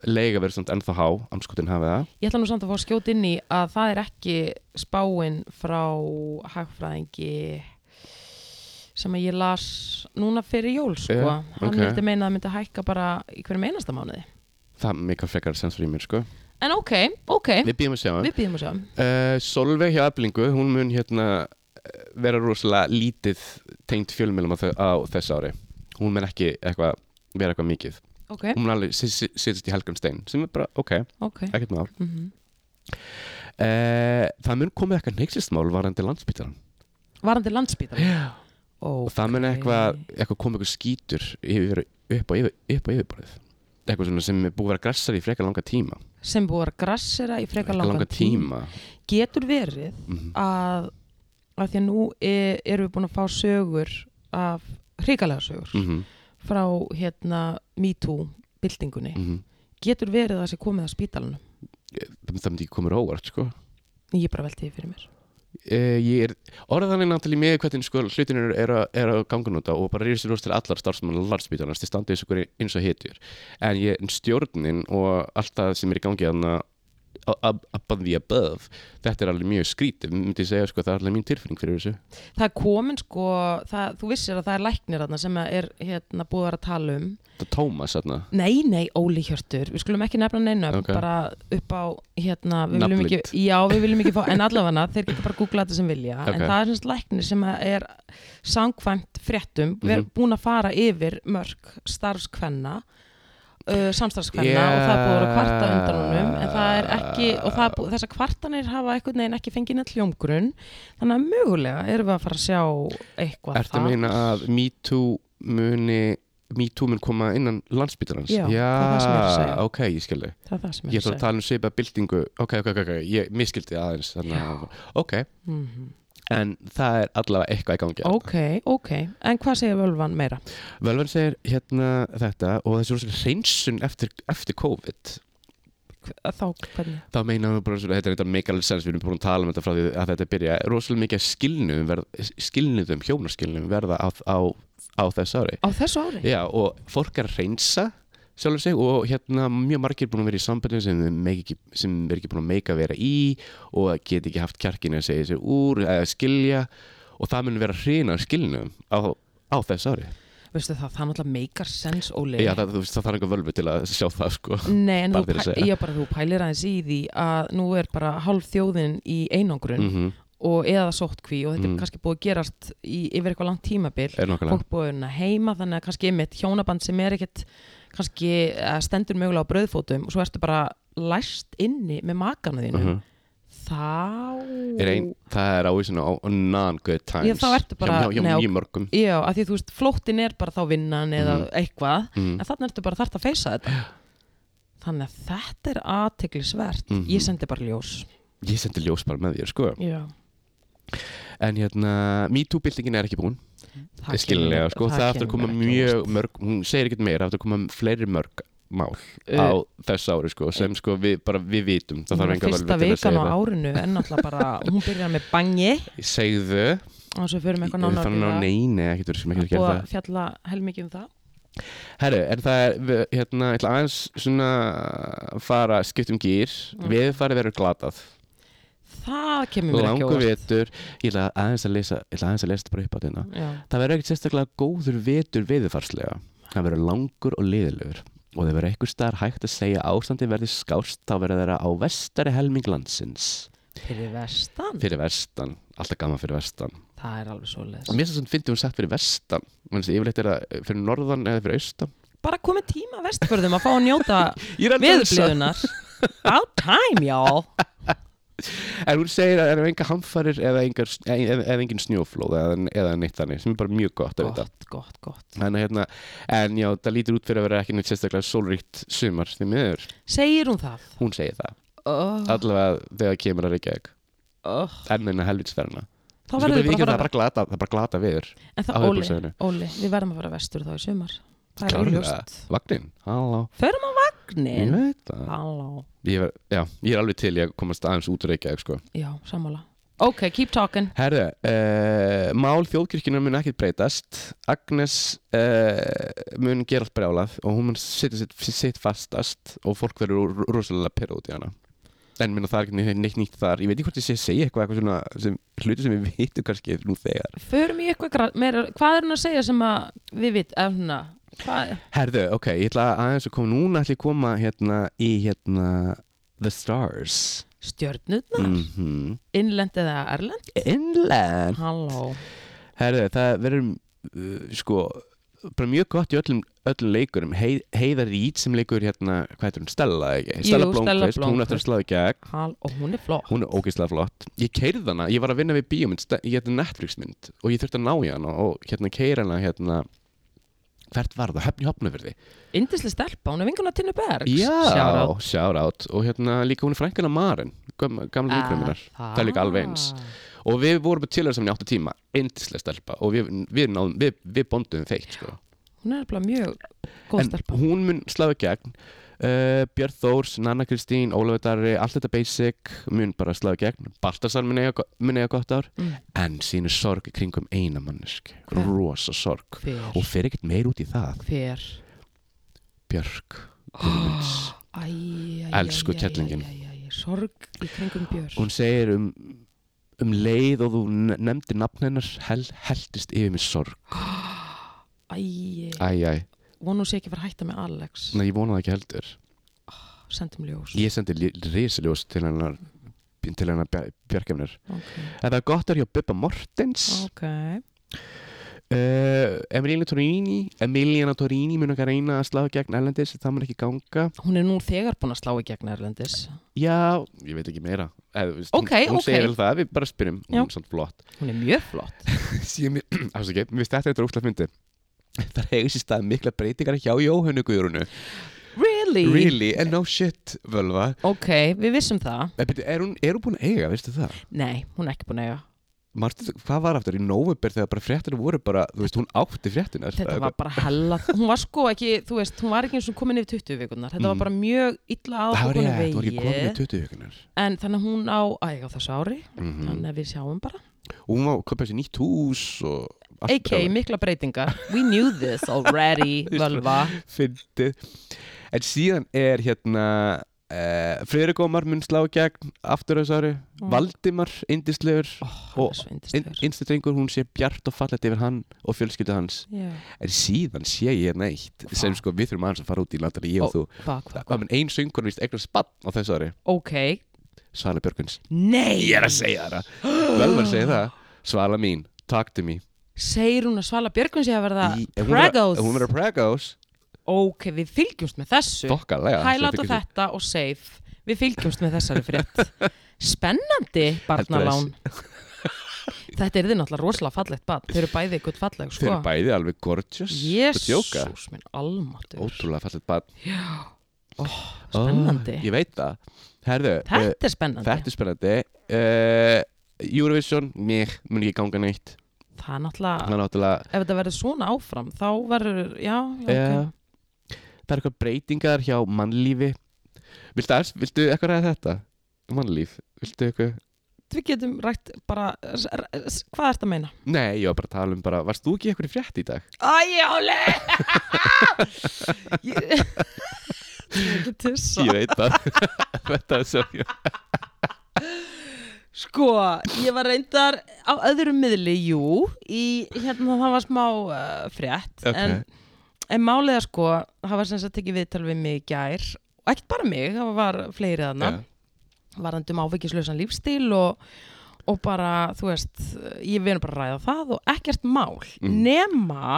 B: leiga verður samt ennþá há, anskotin hafið það
A: ég ætla nú samt að fá að skjóta inn í að það er ekki spáin frá hagfræðingi sem að ég las núna fyrir jól sko,
B: Já,
A: hann
B: ok.
A: vildi meina að það myndi hækka bara í hverjum einasta mánuði
B: það er mikil frekar sens fyrir mér sko
A: En ok, ok,
B: við býðum að sjá
A: við býðum að sjá
B: uh, Solveig hjá Eflingu, hún mun hérna eh, vera rosalega lítið tengt fjölmjölum á, þe- á þess ári hún mun ekki eitthvað vera eitthvað mikið
A: Ok,
B: hún mun alveg sit- sit- sittast í Helgumstein sem er bara, ok,
A: ok
B: ekkert mál
A: mm
B: uh, það mun komið eitthvað neyksistmál varandi landsbytaran
A: Varandi landspítar
B: yeah.
A: okay.
B: og það mun eitthvað, eitthvað komið eitthvað skítur yfir, upp á, yfir, upp á yfirborðið eitthvað svona sem er búið að vera grassar í frekar langa tíma
A: sem búið að grassera í frekar langan,
B: tíma,
A: Getur verið
B: Mhm.
A: að, að því að nú er, erum við búin að fá sögur af hrikalega sögur
B: Mhm,
A: frá hérna MeToo byltingunni
B: mhm.
A: Getur verið að það sé komið að spítalunum
B: það það myndi ekki komið róvart sko
A: Ég bara velti því fyrir mér
B: uh, ég er orðanlega náttúrulega með hvernig sko, hlutin eru er, að- er að ganga núta og bara rýðist rúst til allar starfsmann landsbytarnast til standið þessu hverju eins og hitjur en ég, en stjórnin og allt það sem er í gangi þarna ab- above the above þetta er alveg mjög skrítið, myndi ég segja sko það er alveg mín tilfinning fyrir þessu
A: Það er komin sko, það, þú vissir að það er læknir þarna sem að er hérna búið að vera að tala um
B: það er Tómas þarna
A: Nei, nei, Óli Hjörtur, við skulum ekki nefna neina
B: Ok.
A: bara upp á hérna, við viljum
B: Nafnið.
A: ekki, já, við viljum ekki fá en allavega, þeir geta bara að googla þetta sem vilja
B: Ok.
A: en það er semst læknir sem að er sangkvæmt fréttum, við erum
B: Mhm.
A: búin að fara yfir mörg starfskvenna uh, samstarfskvenna
B: Yeah.
A: og það er búið að vera að kvarta undan honum en það er ekki, og það er búið, þessar kvartanir hafa einhvern veginn ekki fengið neitt hljómgrunn þannig að mögulega erum við að fara að sjá eitthvað
B: Ertu að meina að MeToo muni MeToo mun koma innan landsbytarnans
A: Já, það er það sem ég er að segja.
B: ok, ég skildi
A: það er það sem
B: Ég
A: ég er að
B: ætla að
A: segja
B: tala um svipa byltingu Ok, ok, ok, ok, ég miskildi aðeins þannig að- Ok,
A: mm
B: en það er allavega eitthvað í gangi hérna.
A: Ok, ok, en hvað segir völvan meira?
B: Völvan segir hérna þetta og þessi rosalega hreinsun eftir, eftir COVID
A: Hv- Þá hvernig?
B: þá meina hann bara svona, þetta er eitthvað make a little sense við erum búin að tala um þetta frá því að þetta byrja rosalega mikið skilnum, verð, skilnum hjónaskilnum verða á, á, á þess ári
A: Á þessu ári?
B: Já, og fólk er að reynsa sjálfur sig og hérna mjög margir búin að vera í sambandinu sem þeir make ekki, sem er ekki búin að meika að vera í og get ekki haft kjarkinu að segja sér úr eða skilja og það mun vera hrina skilnum á, á þess ári
A: Veistu það, það náttúrulega meikar sens, Óli.
B: Já, það, þú veist, það þarf einhver völvu til að sjá það sko
A: Nei, en þú,
B: bara fyrir að
A: pæ-
B: segja.
A: já, bara, þú pælir aðeins í því að nú er bara hálf þjóðin í einangrun
B: mm -hmm.
A: og eða sóttkví og þetta
B: Mhm.
A: er kannski búið að gerast í, yfir eitthvað langt tímabil.
B: Er nokkulega
A: Fólk búið að unna heima, þannig að kannski einmitt hjónaband sem er ekkit kannski eh, stendur mögulega á brauðfótum og svo ertu bara læst inni með makana þínum.
B: Mhm.
A: Þá...
B: er ein, Það er ávísin á á non-good times
A: Já, þá ertu bara-
B: Hjá, hjá,
A: nei,
B: hjá
A: ok.
B: mjög mörgum
A: Já, af því þú veist, flóttin er bara þá vinnan eða
B: Mhm.
A: eitthvað
B: mm.
A: en þannig ertu bara þarft að feysa þetta þannig að þetta er aðteglisvert
B: Mhm.
A: ég sendi bara ljós
B: Ég sendi ljós bara með þér sko
A: já,
B: En hérna, MeToo-byltingin er ekki búin skiljanlega sko, það aftur að koma mjög mörg, hún segir ekkert meira, aftur að koma fleiri mörg mál
A: Eh,
B: á þess ári sko, sem sko við bara, við vitum það þarf enga
A: fyrsta
B: völvið til að
A: vikan á
B: segja það
A: árinu en náttúrulega
B: *laughs*
A: bara, hún byrjar með bangi
B: segðu,
A: og svo fyrir með eitthvað nánar
B: þannig að
A: yfir það.
B: neini ekkert verið sem
A: Það er
B: ekkert
A: búið
B: gera
A: að fjalla helmikið um það
B: það herru, en það er, við, hérna, ég ætla aðeins svona fara, skipt um gýr
A: Mm.
B: veðurfarið verður glatað
A: það kemur mér ekki á
B: langur
A: óvart. sko.
B: vetur ég ætla aðeins að lesa, ég ætla aðeins að lesa þetta bara upp á þetta
A: Já.
B: það verður ekkert sérstaklega góður vetur veðurfarslega það verður langur og liðilegur og það verður eitthvað staðar hægt að segja að ástandið verði skást þá verður þeirra á vestari helming landsins
A: Fyrir vestan,
B: fyrir vestan, alltaf gaman fyrir vestan
A: það er alveg svo
B: og mér finnst þetta hún sagt fyrir vestan Mér finnst yfirleitt er það fyrir norðan eða fyrir austan
A: Bara komið tíma vestförðum að fá að njóta
B: *laughs* Ég er að dansa.
A: veðurblíðunar. About time, y'all.
B: En hún segir að það eru enga hamfarir eða, engar, eða, eða engin snjóflóð eða, eða neitt þannig sem er bara mjög gott að vita
A: Gott, gott, gott.
B: en, hérna, en já, það lítur út fyrir að vera ekki neitt sérstaklega sólríkt sumar því miður,
A: Segir hún það?
B: hún segir það
A: Oh,
B: allavega þegar það kemur að Reykjavík
A: oh.
B: enn enn að helvitsferðina
A: Það verður
B: um það
A: bara
B: er
A: að
B: bara glata, það er bara glata viður
A: fara, en
B: á
A: það, Óli,
B: höfuðborgarsvæðinu.
A: Óli, við verðum að fara vestur þá í sumar. Það er
B: Klárlega.
A: auðljóst.
B: vagnin, halló,
A: Förum á
B: ég
A: vagnin.
B: veit það
A: Halló.
B: ég, ver- já, ég er alveg til í að komast aðeins út úr Reykjavík sko.
A: Já, sammála. Ok, keep talking.
B: Herðu, uh, mál þjóðkirkjuna mun ekkert breytast Agnes uh, mun gera allt brjálað og hún mun sitja sitt, sitt fastast og fólk verður ro- rosalega pyrra út í hana en minna það er ekki neitt, neitt nýtt þar ég veit ekki hvort ég sé að segja eitthvað, eitthvað svona, sem, hluti sem við veitum kannski nú þegar
A: Förum í eitthvað gra- meira, hvað er hún að segja sem að við vitt, eða svona, hvað,
B: Herðu, ok, ég ætla aðeins að koma núna ætla ég að koma hérna í hérna The Stars
A: stjörnutna,
B: mm
A: innlend eða erlend?
B: Inland
A: Halló.
B: Herðu, það verður uh, sko, bara mjög gott í öllum, öllum leikurum, Hei, Heiða Rít sem leikur hérna, hvað heitir hún, Stella eða ekki?
A: Jú,
B: Stella
A: Stella
B: Blómkvist, hún
A: Blómkvist.
B: eftir að sláði gegn
A: Hall, og hún er flott.
B: hún er ógeðslega flott, ég keirði hana ég var að vinna við bíómynd, sta- ég hefði Netflixmynd og ég þurfti að ná í hana og hérna keira hana hérna, hvert var það, höfni hopnafyrði
A: Indisli stelpa, hún er vinguna Tinnu Bergs.
B: já,
A: Shout out.
B: shout out og hérna líka hún er frænkana Maren gamla
A: Ah.
B: vinkunum minnar, það er líka alveg eins og við vorum til þess að minna áttu tíma eindislega stelpa og við, við, náðum, við, við bondum feitt sko.
A: Hún er alveg mjög góð
B: en
A: stelpa.
B: hún mun slá í gegn uh, Björn Þórs, Nanna Kristín, Ólafur Darri allt þetta basic mun bara slá í gegn Baltasar mun eiga, go- mun eiga gott ár
A: Mm.
B: en sínu sorg í kringum eina mannesk
A: Hver?
B: rosa sorg
A: Hver,
B: og fer ekkert meir út í það
A: hver.
B: Björk
A: *gasps*
B: oh.
A: Æ, æ, æ,
B: Elsku
A: æ, æ,
B: kettlingin.
A: æ, æ, æ, æ, Sorg í kringum Björg.
B: hún segir um um leið og þú ne- nefndir nafn hennar hel, heldist yfir mig sorg
A: Æ,
B: æj, æj,
A: vonu sé ekki að fara að hætta með Alex.
B: Nei, ég vona það ekki heldur
A: Sendum ljós.
B: ég sendi li- risaljós til hennar til hennar Björkjafnir
A: Ok.
B: en það er gott er hjá Bubba Mortens
A: Ok.
B: Uh, Emiliana Torini Emiliana Torini mun ekki að reyna að slá í gegn Erlendis, það mun ekki ganga
A: Hún er nú þegar búin að slá í gegn Erlendis.
B: Já, ég veit ekki meira Eð, veist,
A: Ok,
B: hún, hún
A: ok.
B: segir vel það, við bara spyrjum
A: Já.
B: Hún er samt flott
A: Hún er mjög flott.
B: Síðan, afsaki, mér finnst þetta eitthvað útlægt myndi Það hefur sér stað mikla breytingar hjá Jóhannu Guðrunu
A: Really?
B: Really, and no shit, völva
A: Ok, við vissum það.
B: er, byrju, er, hún, er hún búin að eiga, veistu það?
A: Nei, hún er ekki búin að eiga.
B: Marstu, hvað var aftur í november þegar bara fréttina voru bara, þú veist, hún átti fréttina
A: Þetta var bara hella. Hún var sko ekki, þú veist, hún var ekki eins og komin yfir 20 vikunar. Þetta var
B: Mm.
A: bara mjög illa
B: Það var
A: áhugunum
B: rétt, þú var ekki komin í
A: vegið.
B: 20 hugunar
A: En þannig að hún á, að ég á þessu ári,
B: mm
A: þannig að við sjáum bara.
B: og hún var að köpa sér nýtt hús og allt
A: AK, mikla breytingar. *laughs* We knew this already,
B: *laughs*
A: völva.
B: fyndið en síðan er hérna uh, Friðrik Ómar mun slá í gegn aftur þessu ári, Valdimar indislegur,
A: Mm. Ó, hann er svo yndislegur.
B: indistrengur hún sé bjart og fallet yfir hann og fjölskyldu hans
A: Já.
B: en síðan sé ég hérna eitt sem sko við þurfum aðeins að fara út í landari ég og þú
A: Hvað, hvað,
B: Það
A: hvað?
B: mun ein söngur vist eignar spann á þessu ári
A: Ok.
B: Svala Björkvins
A: Nei!
B: Ég er að segja það Velvar segir það Svala mín, talk to me
A: Segir hún að Svala Björgun sé að verða
B: Í- ef hún verður-
A: pregos?
B: ef Hún verður pregos
A: Ok, við fylgjumst með þessu.
B: Dokkalega
A: Highlight og þetta og save. Við fylgjumst með þessari
B: *laughs*
A: frétt. Spennandi barnalán. *laughs* þetta er þið náttúrulega rosalega fallegt barn. Þau eru bæði ykkur falleg,
B: Þeir
A: sko.
B: eru bæði alveg gorgeous að djóka.
A: Jésús minn, almatur.
B: Ótrúlega fallet bad
A: Spennandi.
B: Ég veit það Herðu, uh,
A: Þetta er spennandi.
B: þetta er spennandi uh, Eurovision, mér mun ekki ganga neitt
A: Það er náttúrulega,
B: Þannig að náttúrulega
A: ef þetta verður svona áfram, þá verður, já, já,
B: Já.
A: ok.
B: Það er eitthvað breytingar hjá mannlífi Viltu, aðeins- viltu eitthvað ræða þetta? Mannlíf, viltu eitthvað?
A: Við getum rætt bara, s- r- s- hvað ertu að meina?
B: Nei, ég var bara að tala um bara Varst þú ekki eitthvað í frétt í dag?
A: Æjáli! *laughs* Ég er ekki tissa. *laughs*
B: *laughs* Ég veit það Þetta er svo
A: Sko, ég var reyndar á öðrum miðli, jú, í, hérna það var smá uh, frétt,
B: Ok.
A: en, en máliða sko, það var sem sagt tekið viðtal við mig í gær, og ekkert bara mig, það var fleiri þarna,
B: Já.
A: varðandi um áfengislausan lífstíl og, og bara, þú veist, ég verður bara að ræða það og ekkert mál, nema,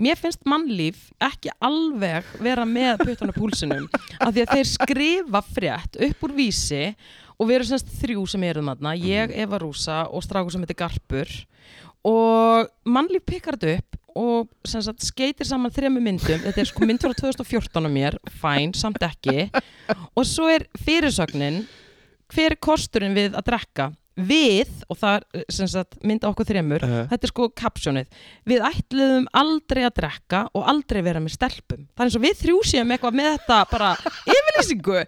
A: mér finnst mannlíf ekki alveg vera með puttana púlsinum, af því að þeir skrifa frétt upp úr vísi og við erum semst þrjú sem erum þarna, ég, Eva Rúsa og strákur sem heitir Garpur og mannlíf pikkar þetta upp og sem sagt skeitir saman þremu myndum þetta er sko mynd frá 2014 á mér fæn, samt ekki og svo er fyrirsögnin hver er kosturinn við að drekka við, og það er sem sagt mynd á okkur þremur,
B: Uh-huh.
A: þetta er sko kapsjónið við ætluðum aldrei að drekka og aldrei vera með stelpum það er eins og við þrjú séum eitthvað með þetta bara yfirlýsingu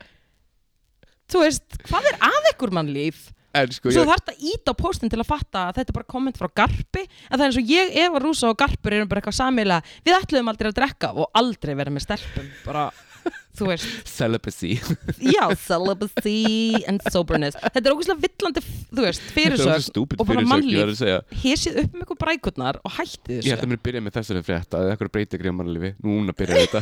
A: þú veist, hvað er að ykkur mann líf?
B: En sko,
A: Svo
B: ég,
A: þarf þetta íta á postin til að fatta að þetta er bara komment frá Garpi en það er eins og ég, Eva Rúsa og Garpur erum bara eitthvað samilega við ætluðum aldrei að drekka og aldrei vera með stelpum bara, þú veist
B: *laughs* celibacy
A: já, celibacy and soberness þetta er ógæslega villandi, f- þú veist,
B: *laughs*
A: fyrirsögn
B: stúpid
A: og bara
B: fyrirsögn, ég
A: mannlíf.
B: var að segja
A: hésið upp með ykkur brækurnar og hætti
B: Ég ætla
A: þessu
B: mér að byrja með þessari frétt að eitthvað breytir greið mannlífi Núna byrja
A: *laughs*
B: þetta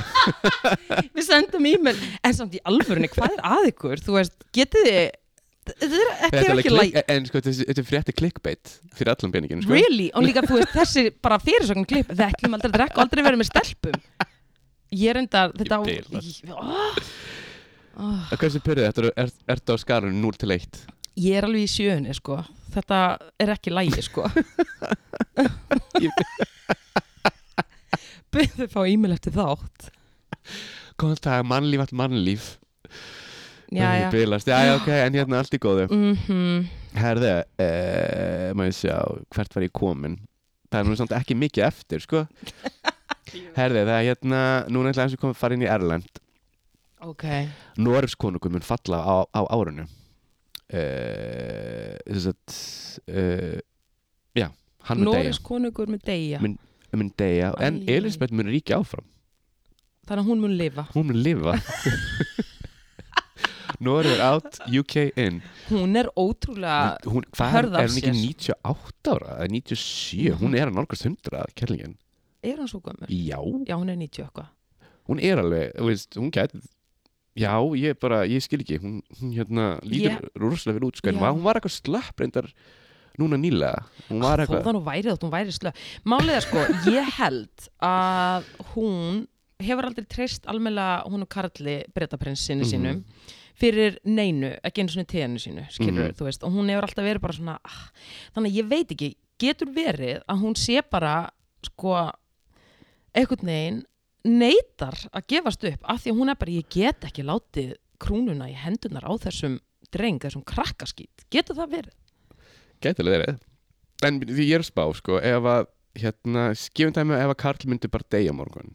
A: við sendum e-mail, en samt í alvörunni hvað er að ykkur, þú veist, getið þið þetta er ekki,
B: Þetta er alveg
A: ekki læg
B: klik- En sko, þessi- þetta er frétt er clickbait Fyrir allan peningin sko.
A: Really? Og líka þú veist þessi bara fyrirsögn klipp Við ætlum aldrei að drekka og aldrei verið með stelpum Ég er enda þetta
B: Ég bil það.
A: á, oh,
B: Að Hversu pyrrið þetta? Er þetta á skarun 0 til 1?
A: Ég er alveg í sjöunni sko Þetta er ekki lægi
B: *laughs*
A: sko Byrðu fá e-mail eftir þátt
B: Góðan dag, mannlíf, allt mannlíf
A: Jæja
B: Ég bilast. Já, já, ok, en hérna allt í góðu
A: mm
B: Herði, uh, maður sjá Hvert var ég komin? Það er nú samt ekki mikið eftir,
A: *laughs*
B: sko Herði, það er hérna Núna ætla eins og komið að fara inn í Erlend
A: Ok
B: Noregs konungur mun falla á, á árunnu uh, Þess að uh, Já, hann mun deyja
A: Noregs konungur mun deyja
B: Mun- mun deyja, en
A: Æ.
B: Elisabeth mun ríkja áfram
A: Þannig að hún mun lifa
B: hún mun
A: *laughs*
B: lifa Norður out, UK in
A: Hún er ótrúlega
B: hún, hvað, er-
A: hörð af
B: er hún ekki
A: sér. Mhm.
B: 98 ára eða 97, hún er að nálgast 100 kærlingin,
A: Er hann svo gömur?
B: já
A: Já, hún er 90 eitthvað
B: hún er alveg, þú veist, hún gæti já, ég bara, ég skil ekki hún, hún hérna, lítur
A: Ég-
B: yeah. rosalega vel út sko, en
A: Já.
B: var- hún var eitthvað slapp reyndar núna nýlega, hún var
A: Þó
B: eitthvað
A: það nú væri þótt, hún væri slög Málið er sko, ég held að hún hefur aldrei treyst almennilega hún og Karli breytaprinsinni
B: Mhm.
A: sínum fyrir neinu, ekki einu svona tíðinu sínu skilur,
B: Mhm.
A: þú veist, og hún hefur alltaf verið bara svona ah, þannig að ég veit ekki, getur verið að hún sé bara sko, einhvern veginn neitar að gefast upp af því að hún er bara, ég get ekki látið krúnuna í hendunar á þessum dreng, þessum krakkaskít, getur það verið?
B: gæti alveg verið en því ég er að spá sko ef að hérna, skifum dæmi ef að Karl myndi bara deyja á morgun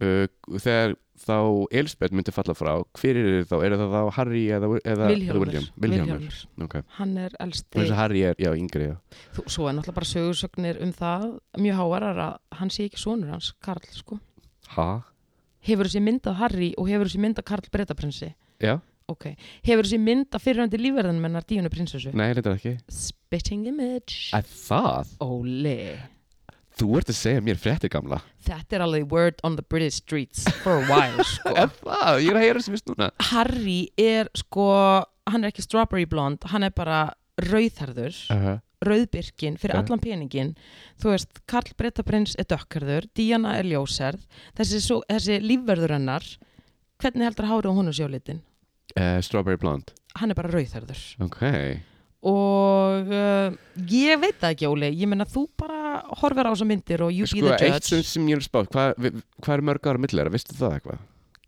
B: uh, þegar þá Elisabeth myndi falla frá hver eru þið þá, eru það þá Harry eða, eða eða
A: Vilhjálmur,
B: William, Williamur. Okay.
A: hann er elsti
B: Hey. Harry er, já, yngri já.
A: Þú, svo er náttúrulega bara sögursögnir um það mjög hávarar að hann sé ekki sonur hans Karl sko.
B: ha,
A: Hefur þessi myndað Harry og hefur þessi myndað Karl Breitaprinsi
B: já,
A: okay. Hefur þessi myndað fyrirhandi lífverðan mennar Díunu prinsessu
B: nei, þetta er ekki
A: Spitting image
B: að það,
A: Óli
B: þú ert að segja mér fréttir gamla
A: Þetta er alveg word on the British streets for a while *laughs* sko.
B: að það, ég er að heyra sem vist núna
A: Harry er sko hann er ekki strawberry blonde, hann er bara rauðherður
B: uh -huh.
A: rauðbyrkin fyrir
B: Já.
A: allan peningin þú veist, Karl Breitaprins er dökkarður Díana er ljóserð þessi, svo, þessi lífverður hennar hvernig heldur hárið á honum sjólitin
B: Eh, Strawberry Blonde,
A: hann er bara rauðherður
B: ok
A: og uh, ég veit það ekki Óli, ég meina þú bara horfir á þessa myndir og you
B: sko,
A: be the
B: eitt sem,
A: judge
B: sem ég er að spá hvað hva er mörg ára millera, veistu það eitthvað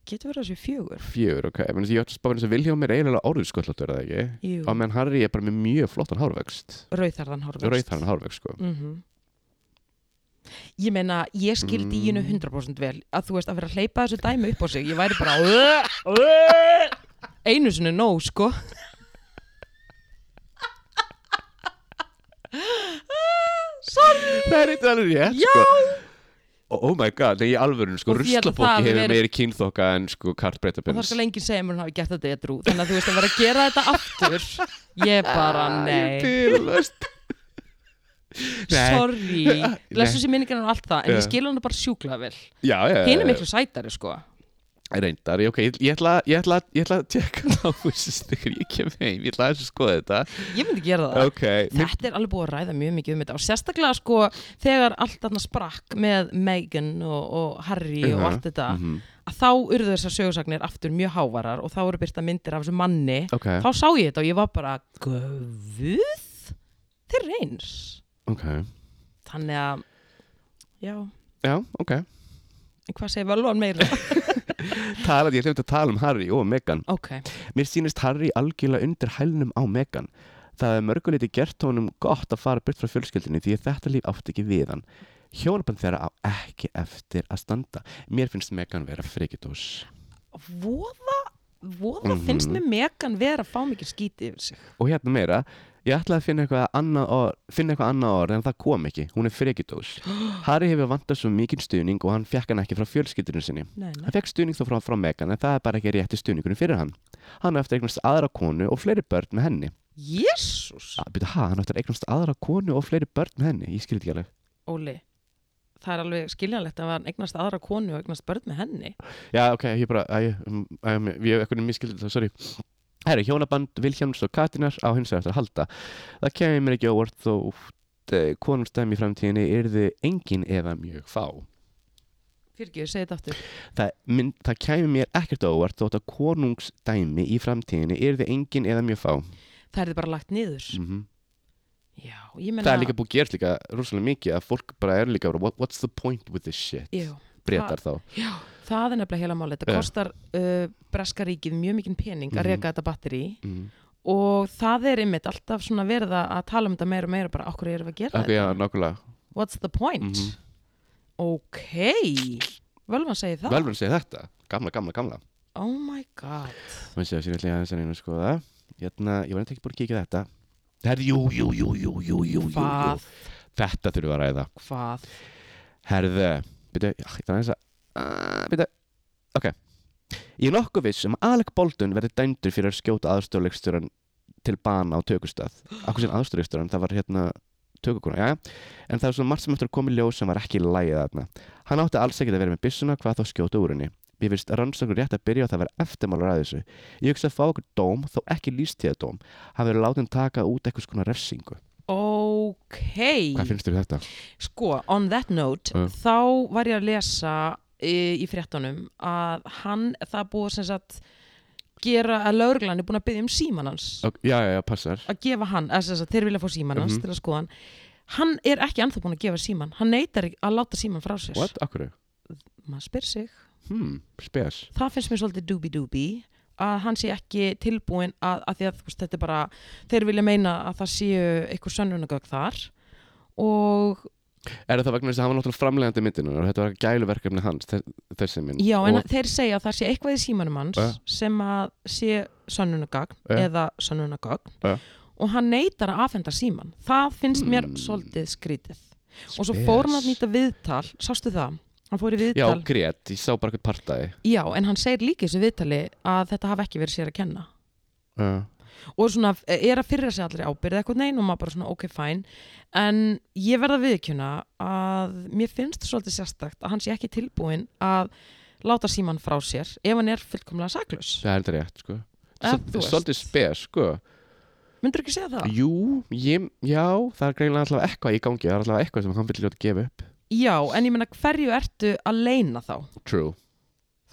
A: getur verið þessi fjögur
B: Fjögur, ok, en ég ætti að spá þess að Vilhjálm er eiginlega orðursköllotur, er það ekki?
A: Jú,
B: Og meðan Harry er bara með mjög flottan hárvöxt
A: rauðherðan hárið
B: Rauðharðan hárvöxt, sko
A: Mhm. Ég meina, ég skil
B: Mm.
A: díinu 100% vel að þú veist að vera að hleypa þessu dæmi upp á sig ég væri
B: *laughs*
A: bara "Ugh, ugh." einu sinni nóg, sko *laughs* Sorry
B: Það er eitthvað alveg rétt,
A: Já.
B: sko oh my god, nei, í alvörun sko,
A: Og því ég held að það
B: ruslabóki
A: hafi
B: hefur
A: verið-
B: meiri kynþokka en sko
A: og það
B: kartbreytabins
A: skal enginn segja mér hún hafi gert þetta edru þannig að þú veist að vera að gera þetta aftur ég
B: Ah,
A: bara nei
B: bílast
A: sorry,
B: Nei.
A: blessu sér minningarnar og allt það en
B: Já. Eh.
A: ég skil hann bara sjúkla vel
B: já, já, já,
A: hinn er
B: já.
A: miklu sætari sko
B: reyndar, ég- ok, ég, ég ætla ég ætla, ég ætla að tjekka *laughs* það á þessu þegar ég kem heim, ég ætla að skoða þetta
A: ég myndi gera það
B: ok, mér,
A: Þetta er alveg búið að ræða mjög mikið um þetta og sérstaklega sko þegar allt þarna sprakk með Meghan og, og Harry og
B: Mhm,
A: allt þetta að þá urðu þessar sögursagnir aftur mjög hávarar og þá eru byrta myndir af þessu manni
B: ok,
A: þá sá ég þetta og ég var bara guð, þeir eru eins
B: ok
A: þannig að já,
B: já, ok,
A: en hvað segir Völvan
B: *laughs*
A: meira?
B: talað, ég hlut að tala um Harry og Meghan
A: ok,
B: Mér sýnist Harry algjörlega undir hælnum á Megan. Það er mörguleiti gert honum gott að fara burt frá fjölskyldinni því að þetta líf átti ekki við hann. Hjónaband þeirra á ekki eftir að standa. Mér finnst Megan vera frikidós.
A: voða voða
B: Mhm.
A: finnst mér megan vera að fá mikið skíti yfir sig *gasps*
B: Og hérna meira, ég ætlaði að finna eitthvað annað orð, finna eitthvað annað orð en það kom ekki. Hún er frikidós. Harry hefur vantað svo mikinn stuðning og hann fekk hann ekki frá fjölskyldinu sinni.
A: nei, nei.
B: Hann fekk stuðning þá frá, frá Megan en það er bara ekki rétti stuðningurinn fyrir hann. Hann er eftir eignast aðra konu og fleiri börn með henni.
A: jésús,
B: að byrja, hæ, hann ætti að eignast aðra konu og fleiri börn með henni, ég skilði ekki alveg
A: Óli það er alveg skiljanlegt að hann eignast aðra konu og eignast börn með henni
B: já, ok, ég bara, æ, um, æ, um, ég hef eitthvað miskildið það, sorry herri, hjónaband Vilhjáms og Katinar á hins vegar eftir að halda það kemur mér ekki óvart þó eh, konumstæmi í framtíðinni yrði engin eða mjög fá
A: fyrir ekki, segi þetta aftur
B: það, mynd, það kemur mér ekkert á óvart þótt að konungsdæmi í framtíðinni yrði engin eða mjög fá
A: það er þið bara lagt niður
B: mm
A: já, ég menna
B: það er líka búið að gerast líka rosalega mikið að fólk bara er líka bara, what, what's the point with this shit
A: Jú,
B: breytar þá
A: já, það er nefnilega heila máli þetta
B: Já.
A: kostar uh, breska ríkið mjög mikinn pening að
B: Mhm.
A: reka þetta batteri
B: mm.
A: og það er einmitt alltaf svona verða að tala um þetta meira og meira bara okkur erum við að gera
B: ok, já, nákvæmlega
A: þetta what's the point
B: Mhm.
A: ok Völvan segir það
B: Velverðin segir þetta, gamla, gamla, gamla
A: oh my god
B: Mér séu að sér ætli að þess að einu skoða Jæna, Ég var eitthvað ekki búin að kíkja á þetta Herði, jú, jú, jú, jú, jú, jú, jú, jú.
A: hvað,
B: Þetta þurfum við að ræða
A: hvað
B: Herði, byrja, já, ég þarf aðeins að uh, Byrja, ok Ég er nokkuð viss um að Alec Baldwin verði dæmdur fyrir að skjóta aðstofleikstjóran til bana á tökustað Akkur sem aðstofleikstjóran, það var hérna tökukona, já, en það var svona margt sem eftir að koma í ljós sem var ekki í lagið þarna Hann átti alls ekki að vera með byssuna hvað þá skjóta úr henni Mér finnst rannsóknur rétt að byrja og það verði eftirmálur að þessu Ég hugsa að fá okkur dóm, þó ekki lístíðadóm Hann verður látin taka út eitthvað skona refsingu
A: ok
B: Hvað finnst þér um þetta?
A: sko, on that note
B: Mm.
A: þá var ég að lesa í, í fréttunum að hann það er búið sem sagt gera að lauruglan er búin að byggja um síman hans
B: Ok, Já, já, já, passar
A: að gefa hann, eða sem sagt þeir vilja fá síman hans
B: Mhm.
A: til að skoða hann hann er ekki anþá búin að gefa síman hann neytar ekki að láta síman frá sér
B: What? Akkur?
A: maður spyr sig
B: Hmm, spes
A: það finnst mér svolítið dooby-dooby að hann sé ekki tilbúin að, að því að þú veist, þetta er bara, þeir vilja meina að það séu eitthvað sönnunagögg þar og
B: Er það vegna þess að hann var náttúrulega framlegandi myndinunar og þetta var gæluverkefni hans, þe- þessi mynd
A: já, en
B: og,
A: þeir segja að það sé eitthvað í símanum hans
B: Ja.
A: sem að sé sönnunagögg
B: Ja.
A: eða sönnunagögg
B: Ja.
A: og hann neytar að afhenda síman það finnst mér
B: Mm.
A: svolítið skrítið og svo
B: Spes.
A: fór hann að nýta viðtal sástu það, hann fór í
B: Já,
A: viðtal
B: grét, ég sá bara eitthvað partæði
A: já, en hann segir líka í þessu viðtali að þetta hafi ekki verið sér að kenna
B: uh,
A: og svona e, er að fyrra sig allir ábyrð eitthvað neina og maður bara svona ok fine en ég verða viðkjöna að mér finnst svolítið sérstakt að hann sé ekki tilbúin að láta síman frá sér ef hann er fullkomlega saklaus
B: Það er þetta rétt, sko
A: Eh, þú
B: Svol-
A: veist.
B: Svolítið spes, sko
A: myndur ekki segja það?
B: Jú, ég, já, það er greinlega alltaf eitthvað í gangi Það er alltaf eitthvað sem hann vil ljóta gefa upp
A: Já, en ég meina hverju ertu að leina þá?
B: True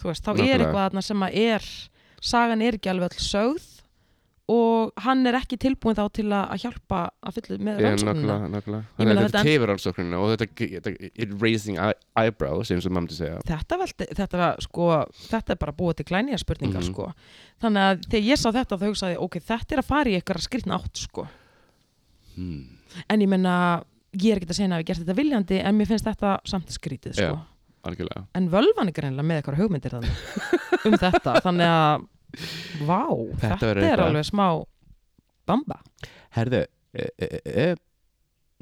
A: þú veist, þá er
B: Nákvæmlega.
A: eitthvað þarna sem að er sagan er ekki alveg all sögð og hann er ekki tilbúin þá til að að hjálpa að fylla með
B: Ég,
A: rannsóknuna
B: nákvæmlega, nákvæmlega.
A: Ég
B: Þannig
A: meina
B: að þetta
A: þetta-
B: tefur rannsóknina og þetta, þetta it raising eye- eyebrows eins og mamma til segja
A: þetta, velti, þetta, var, sko, þetta er bara búið til glænýja spurningar
B: Mhm.
A: sko. þannig að þegar ég sá þetta þá hugsaði ég, ok, þetta er að fara í eitthvað skrýtna átt sko.
B: hmm.
A: en ég menna, ég er ekki að segja að við gert þetta viljandi en mér finnst þetta samt skrýtið sko.
B: Já. Algjörlega
A: en völvan er greinlega með eitthvað hugmyndir þannig, um þetta þannig að, vá,
B: Þetta
A: þetta,
B: verður
A: er
B: eitthvað.
A: alveg smá bamba
B: Herðu, e, e, e, e,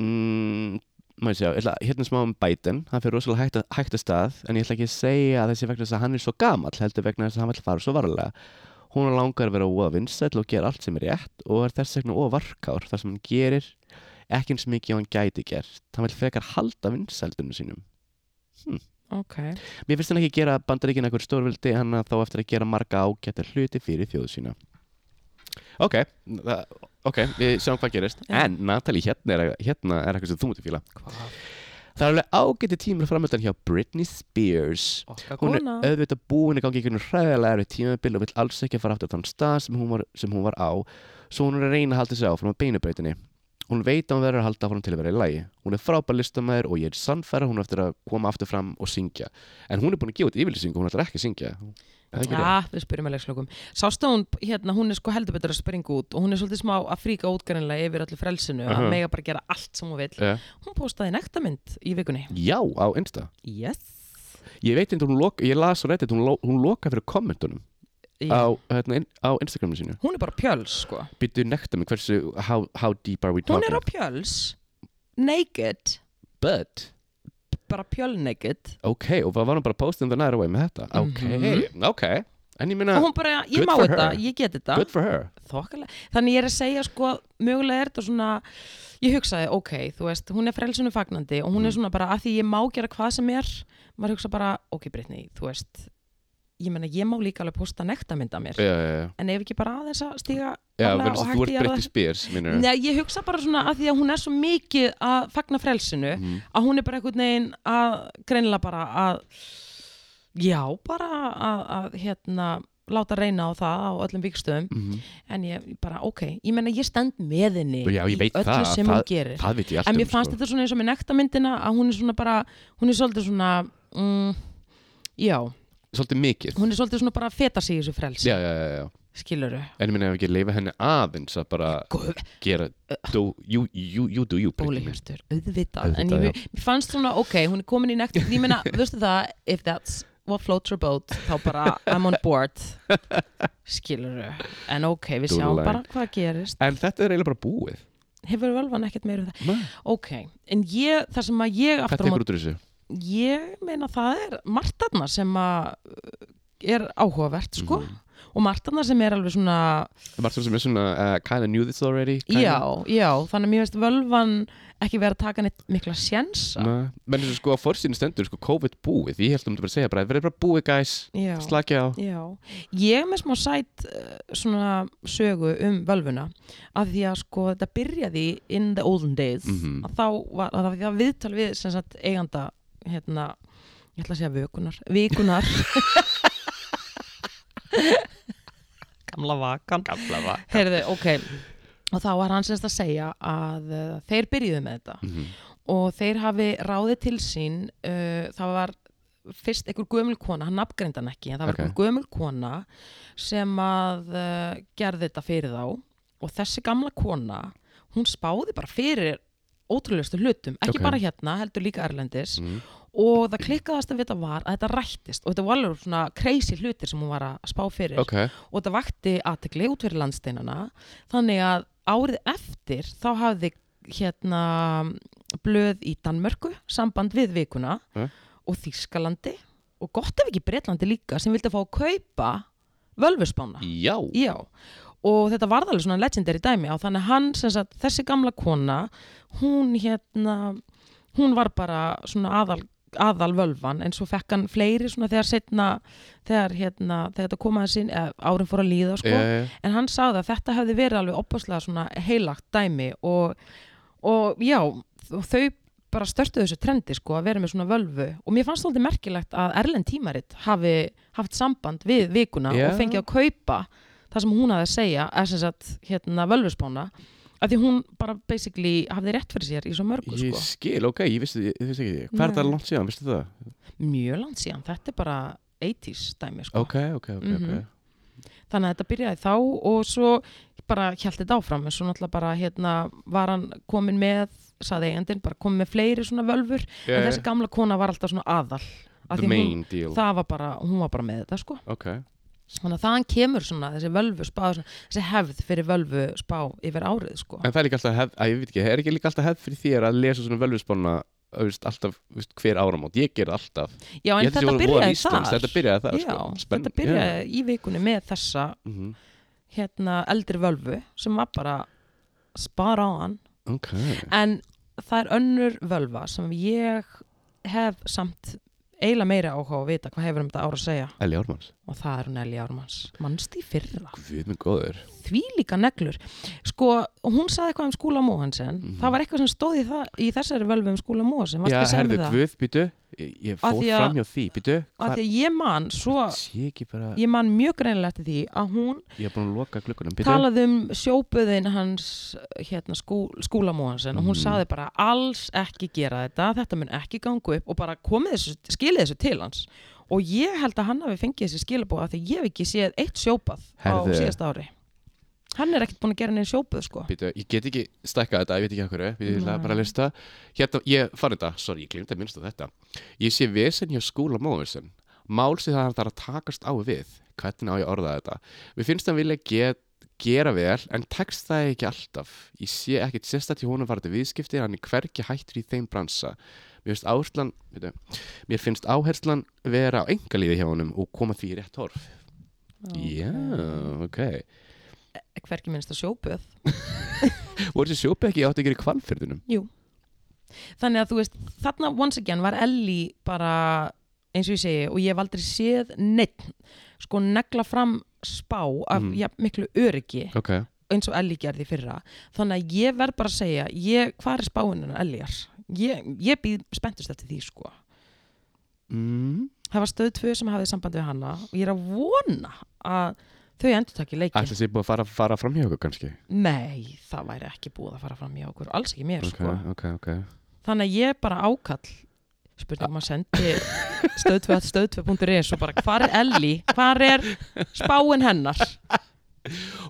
B: mm, má ég sjá, ég ætla, hérna smá um Biden hann fyrir rosalega hægt, að- hægt að stað en ég ætla ekki að segja að þessi vegna þess að hann er svo gamall heldur vegna þess að hann vil fara svo varlega hún langar að vera óa vinsæll og gera allt sem er rétt og er þess vegna óa varkár þar sem hann gerir ekki eins mikið og hann gæti gert hann vil frekar halda vinsældunum sínum
A: ok,
B: Mér finnst hann ekki gera bandaríkinn eitthvað stórvildi hann að þá eftir að gera marga ágæta hluti fyrir þjóðu sína. Ok, það- ok, við sjáum hvað gerist.
A: Já.
B: En Natalie, hérna er, hérna er eitthvað sem þú mútið fíla.
A: hvað,
B: Það er alveg ágæti tímur framöndan hjá Britney Spears.
A: okkar
B: Hún er
A: kona
B: auðvitað búin að gangi einhvern hræðilega erfið tímabil og vill alls ekki fara aftur á þann stað sem hún, var, sem hún var á svo hún er að reyna að halda sig áfram á beinubreytinni. Hún veit að hún verður að halda áfram til að vera í lagi. Hún er frábær listamæður og ég er sannfæra hún á eftir að koma aftur fram og syngja. En hún er búin að gefa út yfirlýsingu, hún ætlar ekki að syngja. Er það ekki rétt?
A: Já, við spyrjum að leikslokum. Sástu að hún, hérna, hún er sko heldur betur að springa út og hún er svolítið smá að fríka útgærinlega yfir öllu frelsinu
B: Mhm.
A: að mega bara gera allt sem hún vil.
B: Já.
A: Hún postaði nektamynd í vikunni.
B: Já, á Insta.
A: Yes.
B: Ég veit einnig hún loka, ég las og reytið, hún, lo, hún loka fyrir kommentunum
A: Oh.
B: á, hérna, in, á Instagraminu sínu.
A: Hún er bara pjöls, sko.
B: Býttu nekta mig hversu, how, how deep are we
A: Hún
B: talking?
A: er á pjöls, naked,
B: But...
A: bara pjölnaked.
B: ok, og það var hann bara posting the night away með þetta ok, ok, en
A: Mhm. Og
B: ég minna
A: hún bara, ég
B: Good
A: má
B: for
A: þetta,
B: her.
A: ég get þetta.
B: good for her
A: þokkalega, þannig ég er að segja sko mögulega er þetta svona ég hugsaði, ok, þú veist, hún er frelsinu fagnandi og hún er svona bara, að því ég má gera hvað sem er maður hugsa bara, ok Brittany þú veist, ég menna ég má líka alveg posta nektamynd af mér
B: já, já, já,
A: en ef ekki bara aðeins að stíga
B: já,
A: varlega
B: verður
A: og
B: þess að
A: hægt
B: þú
A: í
B: ert
A: jarðar-
B: Britney Spears minnur
A: Nei, ég hugsa bara svona að því að hún er svo mikið að fagna frelsinu
B: Mhm.
A: að hún er bara einhvern veginn að greinilega bara að já, bara að, að hérna, láta reyna á það á öllum vikstöðum
B: Mhm.
A: en ég bara, ok, ég menna ég stend með henni
B: Já, ég
A: í
B: veit
A: öllu
B: það,
A: sem hún gerir
B: það veit ég allt
A: en
B: um
A: mér fannst
B: sko.
A: þetta svona eins og með nektamyndina að hún er svona bara, hún er svolítið svona mm, já,
B: svolítið mikið
A: hún er svolítið svona bara að feta sig í þessu frelsi,
B: já, já, já, já,
A: skilurðu
B: en ég minna ef ekki leifa henni aðeins að bara
A: Guð,
B: gera do, you, you, you do you
A: Óli
B: Britney
A: Hjörtur, auðvitað en
B: Auðvitað,
A: ég, mér fannst svona, ok, hún er komin í nekt ég
B: *laughs*
A: meina, veistu það, if that's what floats your boat, þá bara I'm on board skilurðu en ok, við sjáum
B: Dúdulagin.
A: bara hvað gerist
B: en þetta er eiginlega bara búið
A: hefur völvan ekkert meira um það
B: Man,
A: ok, en ég, það sem að ég
B: hvað
A: aftur á
B: tekur út úr þessu?
A: Ég meina það er Martarna sem að uh, er áhugavert sko og Martarna sem er alveg svona
B: Martur sem er svona uh, kinda knew this already kinda.
A: já, já, þannig að mér veist völvan ekki verið að taka neitt mikla sjensa
B: Ma- menn þessu sko á forsýnni stendur sko COVID búið ég held um þetta bara að segja bara verður bara búið guys
A: já,
B: slakið á
A: já ég er með smá sætt uh, svona sögu um völvuna af því að sko þetta byrjaði in the olden days
B: Mhm.
A: að þá var að það, það viðtal við sem sagt eiganda hérna, ég ætla að segja vökunar vikunar *laughs* gamla vakan
B: gamla va
A: Heyrðu, ok og þá var hann semst að segja að uh, þeir byrjuðu með þetta og þeir hafi ráðið til sín uh, það var fyrst einhver gömul kona, hann nafngreind hann ekki en það var
B: Ok.
A: einhver gömul kona sem að uh, gerði þetta fyrir þá og þessi gamla kona hún spáði bara fyrir ótrúlegustu hlutum, ekki
B: Ok.
A: bara hérna heldur líka Erlendis
B: Mhm.
A: og það klikkaðast að vita var að þetta rættist og þetta var alveg svona crazy hlutir sem hún var að spá fyrir
B: ok
A: og þetta vakti aðtekli út fyrir landsteinana þannig að árið eftir þá hafði hérna blöð í Danmörku samband við vikuna
B: Eh?
A: og Þýskalandi og gott ef ekki Bretlandi líka sem vildi fá að kaupa völvuspána
B: já
A: Já, og þetta varð alveg svona legendary dæmi á þannig að hann, sem sagt, þessi gamla kona, hún hérna, hún var bara svona aðal, aðal völvan en svo fekk hann fleiri svona þegar setna, þegar hérna, þegar þetta komaði sín, eða árin fór að líða sko,
B: Já, já.
A: en hann sagði að þetta hefði verið alveg opaslega svona heilagt dæmi og, og já, og þau bara störtu þessu trendi sko að vera með svona völvu og mér fannst þóldið merkilegt að Erlend tímarit hafi haft samband við vikuna
B: Já.
A: og fengið að kaupa það sem hún hafði að segja eða sem sagt hérna völvuspána af því hún bara basically hafði rétt fyrir sér í svo mörgu
B: Ég
A: sko
B: skil, ok, ég vissi, ég vissi ekki Hvað er
A: Nei.
B: það langt síðan, visstu það?
A: mjög langt síðan, þetta er bara 80s dæmi sko
B: Ok, ok, ok, ok Eh,
A: Mhm. þannig að þetta byrjaði þá og svo bara hjælt þetta áfram en svo náttúrulega bara hérna var hann komin með, saði eigandinn, bara komin með fleiri svona völfur
B: yeah,
A: en þessi gamla kona var alltaf svona aðal af
B: The
A: því
B: main deal
A: hún, það var bara, hún var bara með þetta sko
B: Ok,
A: þannig að þaðan kemur svona þessi völvu spá þessi hefð fyrir völvu spá yfir árið sko
B: En það er líka alltaf hefð, að ég veit ekki, það er ekki líka alltaf hefð fyrir þér að lesa svona völvusbána veist, alltaf, veist, hver áramót, ég ger það alltaf
A: já en
B: Ég held að
A: þetta
B: sé voru voða
A: byrjaði
B: Íslands,
A: þar
B: Þetta byrjaði það,
A: já,
B: sko
A: þetta byrjaði í vikunni með þessa
B: mm
A: hérna eldri völvu sem var bara spara á hann
B: Ok,
A: en það er önnur völva sem ég hef samt eiginlega meira áhuga á að vita hvað hefur um þetta ára að segja
B: Elli Ármanns
A: og það er hún Elí Ármanns mannst í fyrra,
B: Guð minn góður
A: því líka neglur sko, hún saði eitthvað um Skúla Móhansen
B: Mhm.
A: það var eitthvað sem stóð í, það, í þessari völvu um Skúla Móhansen, varstu
B: Já,
A: að segja
B: herðu,
A: mér það
B: Guð, býtu Ég ég
A: Af
B: fór
A: því að-
B: fram hjá því, býtu
A: af því að ég man svo
B: Sé ekki bara,
A: ég man mjög greinilega eftir því að hún
B: ég er búin að loka glukkunum Býtu,
A: talaði um sjóbuðin hans hérna, skú, Skúla Móhansen og hún
B: Mhm.
A: saði bara alls ekki gera þetta þetta mun ekki ganga upp og bara komið þessu, skilið þessu til hans og ég held að hann hafi fengið þessi skilabóð af því ég hef ekki séð eitt sjóbað á
B: Herðu.
A: síðasta ári hann er ekkert búin að gera neina sjóbuð sko
B: býtu, ég get ekki stækkað þetta, ég veit ekki af hverju Ég ætla
A: Nei.
B: bara að lista Hérna, ég fann þetta, sorry, ég glemt að minnst á þetta Ég sé vesen hjá skúla móðursen Mál sem það þarf að takast á við Hvernig á ég að orða þetta Mér finnst það vilja get, gera vel En tekst það ekki alltaf Ég sé ekkit sérstætt í honum varði viðskipti Hann er hvergi hættur í þeim bransa Mér finnst áherslan, býtu, mér finnst áherslan vera á engalífi hjá honum og koma því í rétt horf. Já, ok.
A: hverki minnst að sjóbuð
B: Voru þessi sjópi ekki átt að gera í kvalfyrðunum?
A: þannig að þú veist, þarna once again var Ellie bara eins og ég segi og ég hef aldrei séð neitt sko negla fram spá af
B: Mhm.
A: jafn miklu öryggi
B: Ok.
A: eins og Ellie gerði í fyrra þannig að ég verð bara að segja ég, hvað er spáinn en Elliear ég, ég býð spenntust eftir því sko
B: Mm.
A: það var stöð tvö sem hafði samband við hana og ég er að vona að þau endur takki leikin
B: Ætla sér búið að fara, fara fram hjá okkur kannski?
A: nei, það væri ekki búið að fara fram í okkur alls ekki mér
B: Ok,
A: sko
B: ok, ok.
A: þannig að ég bara ákall spurning maður
B: *laughs*
A: sendi stöðtvö stöðtvö.is og bara hvar er Ellie, hvar er spáin hennar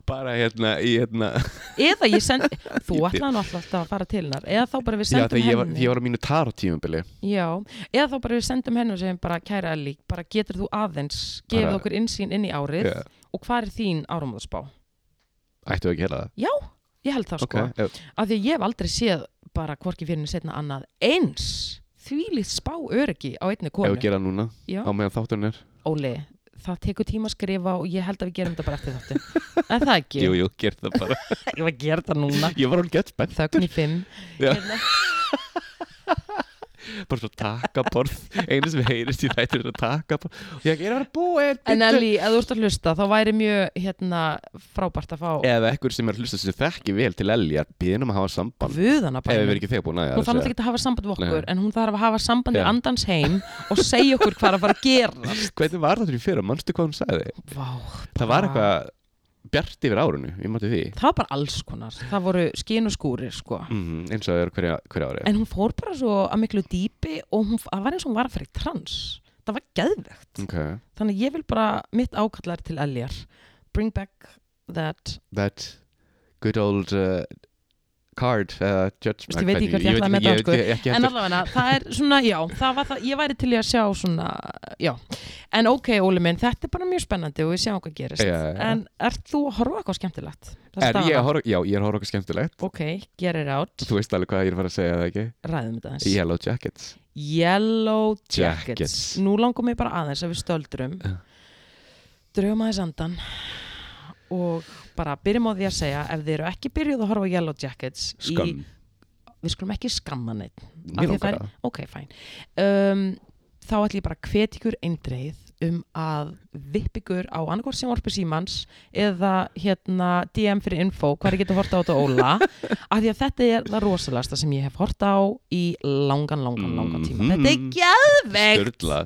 B: Bara hérna, í hérna...
A: eða ég sendi, þú
B: Ég-
A: ætlaði nú alltaf að fara til hennar eða þá bara við
B: Já,
A: sendum
B: þegar ég var,
A: henni
B: ég var á mínu tarotífumbili.
A: Já, eða þá bara við sendum henni og segjum bara kæra Ellie, bara getur þú aðeins gefið
B: Bara-
A: okkur innsýn inn í árið
B: Já.
A: og hvað er þín áramóðspá?
B: Ættu ekki hérna það?
A: Ég held það
B: Ok.
A: sko,
B: já.
A: af því að ég hef aldrei séð bara hvorki fyrir henni setna annað eins þvílið spá öryggi á einni
B: Ef
A: konu
B: við gera það núna,
A: Já,
B: á meðan þátturinn er.
A: Óli, það tekur tíma að skrifa og ég held að við gerum þetta bara eftir þáttu
B: *laughs*
A: en það ekki,
B: jú, gerð það bara.
A: ég var að gera það núna
B: *laughs* ég var alveg gett spennt.
A: þögn í fimm
B: Já.
A: Hérna,
B: Bara svo takaborð. Einu sem heyrist í þættur er að takaborð. Og ég er að vera búin.
A: En
B: bíddu.
A: Ellie, ef þú ert að hlusta þá væri mjög hérna, frábært að fá
B: Eða ekkur sem er að hlusta sem þekki vel til Elja, býðin um að hafa samband.
A: vöðana
B: Ef
A: bara
B: við erum ekki þegar búin
A: hún
B: að
A: þarf náttúrulega ekki að hafa samband við okkur
B: Nei.
A: en hún þarf að hafa samband við
B: Já.
A: andans heim og segja okkur hvað er að fara að
B: *laughs*
A: gera
B: Hvernig var það til í fyrra? Manstu hvað hún sagði?
A: Vá,
B: Það var eitthvað bjart yfir árunnu, ég mátti því
A: það var bara alls konar það voru skin og skúrir sko
B: mm, eins og það er hverja, hverja ári
A: en hún fór bara svo að miklu dýpi og hún, það var eins og hún var að fara í trans það var geðvegt
B: okay.
A: þannig að ég vil bara mitt ákallar til eljar bring back that
B: That good old uh, card uh, judgment
A: Veistu, ég veit ekki hvað ég ætlaði með dansku.
B: ég, ekki
A: en
B: heldur.
A: allavega það er svona, já, það var það ég væri til í að sjá svona, já en ok, Óli minn, þetta er bara mjög spennandi og við sjáum hvað gerist
B: Já, já, já.
A: en ert þú að horfa á eitthvað skemmtilegt? þessa
B: Er ég
A: dagana?
B: að horfa, já, ég er að horfa okkur skemmtilegt
A: Ok, get it out,
B: Þú veist alveg hvað ég er að fara að segja það ekki
A: ræðum þetta aðeins
B: Yellow Jackets
A: Yellow jackets.
B: Jackets.
A: Nú langar mig bara aðeins að við stöldrum
B: Já.
A: Drögum aðeins andan Og bara byrjum á því að segja Ef þið eru ekki byrjuð að horfa á Yellow Jackets
B: Skam,
A: í, Við skulum ekki skamma neitt af
B: mér
A: því að
B: langar
A: það Ok, fæn um, Þá ætlum ég bara að hvetja ykkur eindreið um að vipp ykkur á annarkvort sem orpi símans eða hérna DM fyrir info hvað ég getur horta á þetta
B: *laughs*
A: Óla af því að þetta er það rosalasta sem ég hef horta á í langan, langan, langan tíma
B: Mhm.
A: Þetta er
B: það
A: geðvegt
B: Sturla,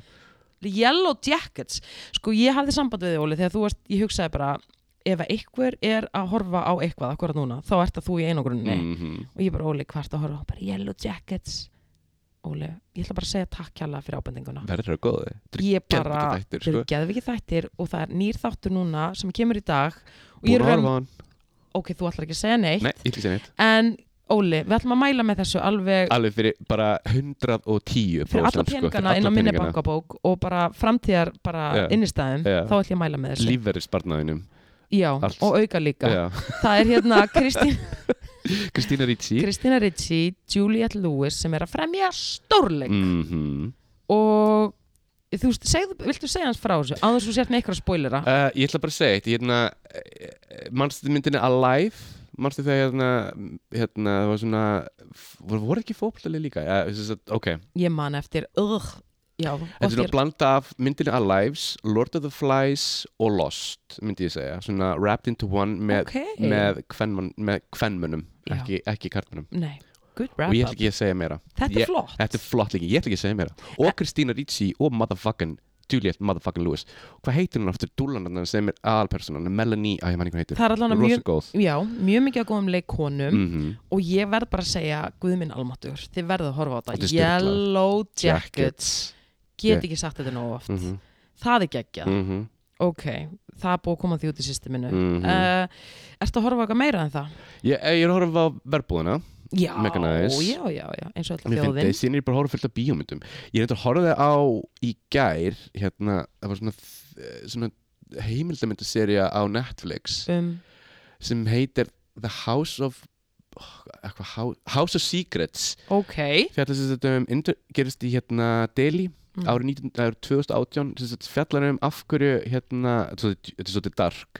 A: Yellow Jackets Sko ég hafði samband við þig Óli þegar þú varst, ég hugsaði bara ef að einhver er að horfa á eitthvað akkurat núna, þá ert að þú í einogrunni
B: mhm.
A: og ég bara Óli hvert að horfa á bara Yellow Jackets Óli, ég ætla bara að segja takk hjálega fyrir ábendinguna
B: verður það góði Þetta
A: ég
B: er
A: bara,
B: geðveikur þættir,
A: þeir
B: sko.
A: eru geðvikið þættir og það er nýr þáttur núna sem kemur í dag og ég
B: Búin
A: er
B: að
A: raun,
B: horfa á hann
A: ok, þú ætlar ekki að segja neitt
B: Nei, ég ætla að segja neitt
A: en Óli, við ætlum að mæla með þessu alveg
B: alveg sko, fyrir bara 110
A: fyrir alla peningana inn á minni bankabók og bara framtíðar bara
B: Já.
A: innistæðum,
B: Já.
A: þá ætlum ég að mæla með þessu
B: lífverðisbarnaðinum
A: Já,
B: allt.
A: og auka líka Það er
B: *laughs*
A: hérna Kristín,
B: Kristína Ricci
A: Kristína Ritchie, Juliette Lewis sem er að fremja stórleik
B: mm
A: og þú veist, segðu, viltu segja hans frá þessu á þess að þú sért með eitthvað spoilera
B: uh, ég ætla bara að segja eitt ég hérna, eh, manstu myndinni Alive manstu þegar hérna, hérna það var svona voru, voru ekki fókbaltalið líka ja, þess að, ok,
A: ég man eftir ugh, já,
B: þetta er
A: gott
B: svona
A: þér
B: blanda af myndinni Alives, Lord of the Flies og Lost, myndi ég segja svona wrapped into one með,
A: Ok.
B: með, kvenmann, með kvenmönnum
A: Já.
B: ekki, ekki kartmönnum
A: nei, good wrap
B: og ég ætla
A: up
B: ekki að segja meira
A: þetta
B: ég-
A: er flott
B: Þetta er flott líka, ég ætla ekki að segja meira Og Kristína Ricci og motherfucking Juliet motherfucking Lewis Hvað heitir hún aftur dúlanarnar sem er aðalpersonan Melanie, að ég man ekki hvað heitir
A: það er allan að
B: Rosa
A: mjög
B: Góð
A: já, mjög mikið að góðum leikonum
B: Mhm.
A: og ég verð bara að segja Guðminn Almatur, þið verðu að horfa á
B: Þetta er
A: þetta
B: sturlað.
A: Yellow Jackets
B: Yeah.
A: get ekki sagt þetta nóg oft
B: Mhm,
A: það er geggjað,
B: mhm,
A: ok það er búið að koma því út í systeminu mm
B: mhm.
A: ertu að horfa á eitthvað meira en það?
B: Ég ég er að horfa á verbúðina
A: já,
B: Mega nice.
A: já, já, já, eins og alltaf
B: Mér finnst
A: þjóðin
B: þið, síðan er ég bara að horfa fullt af bíómyndum Ég reyndi að horfa á í gær Hérna, það var svona eh, Svona heimildamyndaserja á Netflix
A: um,
B: Sem heitir The House of oh, eitthvað, Hou- House of Secrets
A: ok,
B: fjallar sem sagt um inter, gerist í hérna Delhi
A: Mm.
B: árið 19, árið 2018 sem sagt fjallar um af hverju hérna, þetta er svolítið- þetta er svolítið dark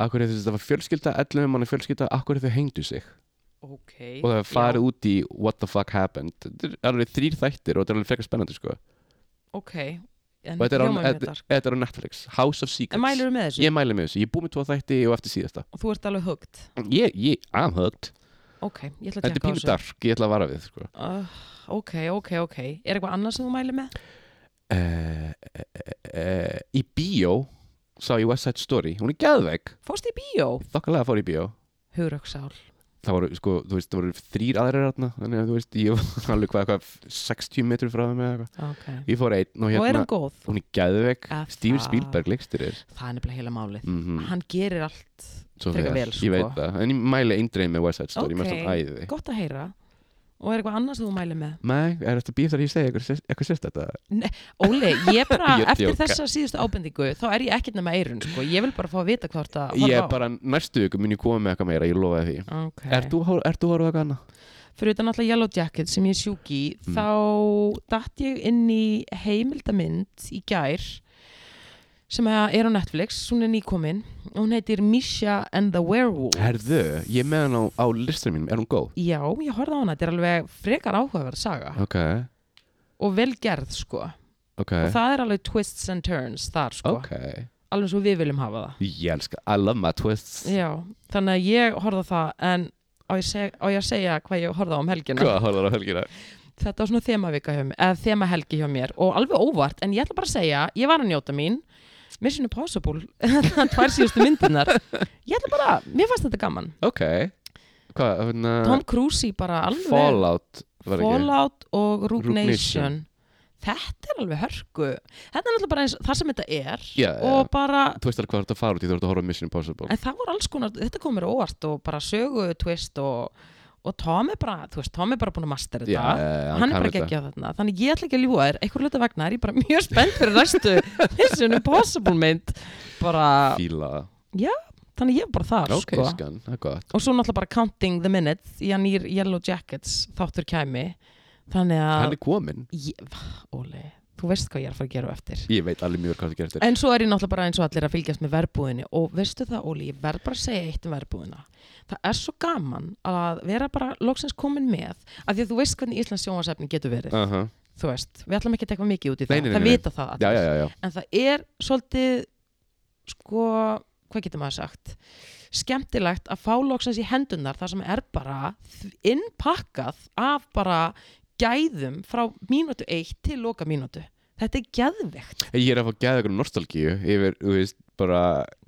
B: af hverju þess að það var fjölskylda 11 manna fjölskylda, af hverju þau hengdu sig
A: ok
B: og það var farið út í what the fuck happened þetta er alveg þrýr þættir og þetta er alveg frekar spennandi sko.
A: ok, en
B: og þetta er, á,
A: hljómar mjög
B: þetta,
A: dark.
B: þetta er á Netflix House of Secrets
A: en mælur með þessu
B: ég mæli með þessu, ég er búið með tvo þætti og eftir síðasta
A: og þú ert alveg hugt
B: ég, ég, I'm hooked
A: ok, ég ætla að
B: þetta er
A: tjekka á
B: pínu
A: þessu
B: dark, ég ætla að vara við sko.
A: uh, ok, ok, ok er eitthvað annað sem þú mælir með?
B: uh, uh, uh, í bíó sá ég West Side Story, hún er geðveik
A: fórst í bíó?
B: þokkalega fór í bíó
A: hugraksál
B: það voru, sko, þú veist, það voru þrýr aðrir hérna, þannig að þú veist, ég var *laughs* alveg hvað, hvað 60 metri frá þeim eða eitthvað
A: ok,
B: ég fór einn og
A: og er
B: hérna,
A: hann góð?
B: hún er geðveik
A: Að
B: Steven
A: það-
B: Spielberg leikstir þér
A: það er nefnilega heila málið
B: mm
A: hann gerir allt
B: svo
A: frekar vel, sko.
B: ég veit það, en ég mæli eindreið með West Side Story, mér
A: Ok.
B: finnst það æði
A: gott að heyra og er eitthvað annað sem þú mælir með?
B: Nei, er þetta býð þar ég segi eitthvað, sér- eitthvað sérst þetta?
A: Óli, ég bara,
B: *laughs* Ég
A: eftir
B: djóka.
A: þessa síðustu ábendingu þá er ég ekkert nema eirun, sko ég vil bara fá að vita hvað þú ert að
B: Ég
A: horfa
B: er bara, næstu ykkur mun ég koma með eitthvað meira, ég lofa því
A: á ok,
B: Ert þú að horfa á eitthvað annað?
A: fyrir utan alltaf Yellow Jacket sem ég er sjúk í
B: Mm.
A: þá datt ég inn í heimildamind í gær sem að er á Netflix, hún er nýkomin og hún heitir Misha and the Werewolf
B: Herðu, ég er með hann á, á listur mínum, er hún góð?
A: Já, ég horfði á hana, þetta er alveg frekar áhugaverð saga
B: Ok,
A: og vel gerð sko
B: ok,
A: og það er alveg twists and turns þar sko
B: ok
A: alveg svo við viljum hafa
B: Ég elska, I love my twists
A: það Já, þannig að ég horfði á það en á ég, seg, á ég að segja hvað ég horfði á um helgina
B: Hvað horfður á helgina?
A: þetta var svona þemavika hjá mér, eða þemahelgi hjá mér og alveg óvart, en ég ætla bara að segja ég var að njóta mín, Mission Impossible *laughs* tvær síðustu myndinar ég ætla bara, mér fannst þetta gaman
B: Ok, hvað, hérna
A: Tom Cruise í bara alveg
B: Fallout var ekki
A: Fallout og Rook
B: Rogue
A: Nation þetta er alveg hörku þetta er náttúrulega bara eins, það sem þetta er
B: Já,
A: og
B: og...
A: bara,
B: þú veist alveg hvað þú ert að fara út í þú ert að horfa á Mission Impossible
A: en það voru alls konar þetta kom mér á óvart og bara sögu twist og, og Tom er bara þú veist, Tom er bara búin að master þetta
B: Já, já,
A: hann er
B: kann
A: bara
B: þetta.
A: geggjað þarna þannig ég ætla ekki að ljúa þér, einhver hluta vegna er ég bara *laughs* mjög spennt fyrir næstu Mission Impossible mynd bara,
B: Fíla það.
A: þannig ég er bara þar
B: Ok,
A: sko.
B: skan, það er gott
A: og svo náttúrulega bara Counting the Minutes í hann nýr Yellow Jackets þáttur kæmi þannig
B: Hann
A: að,
B: er komin
A: ég, Óli þú veist hvað ég er að fara að gera á eftir
B: Ég veit alveg mjög vel hvað þú gerir
A: En svo er ég náttúrulega bara eins og allir að fylgjast með verbúðinni og veistu það Óli, ég verð bara að segja eitt um verbúðina. Það er svo gaman að vera bara loksins komin með af því að þú veist hvernig Íslands sjónvarsefni getur verið.
B: uh -huh.
A: Þú veist, við ætlum ekki að tekja mikið út í það,
B: Nei, nei, nei,
A: það
B: nei.
A: vita það
B: Já,
A: allir.
B: já, já, já
A: En það er svolítið, sko, hvað getur maður sagt? Skemmtilegt að fá loksins í hendunar þar sem er bara þv- innpakkað af bara gæðum frá mínútu eitt til loka mínútu. Þetta er geðvegt.
B: Ég er að fá gæða ykkur nostalgíu yfir, þú veist, bara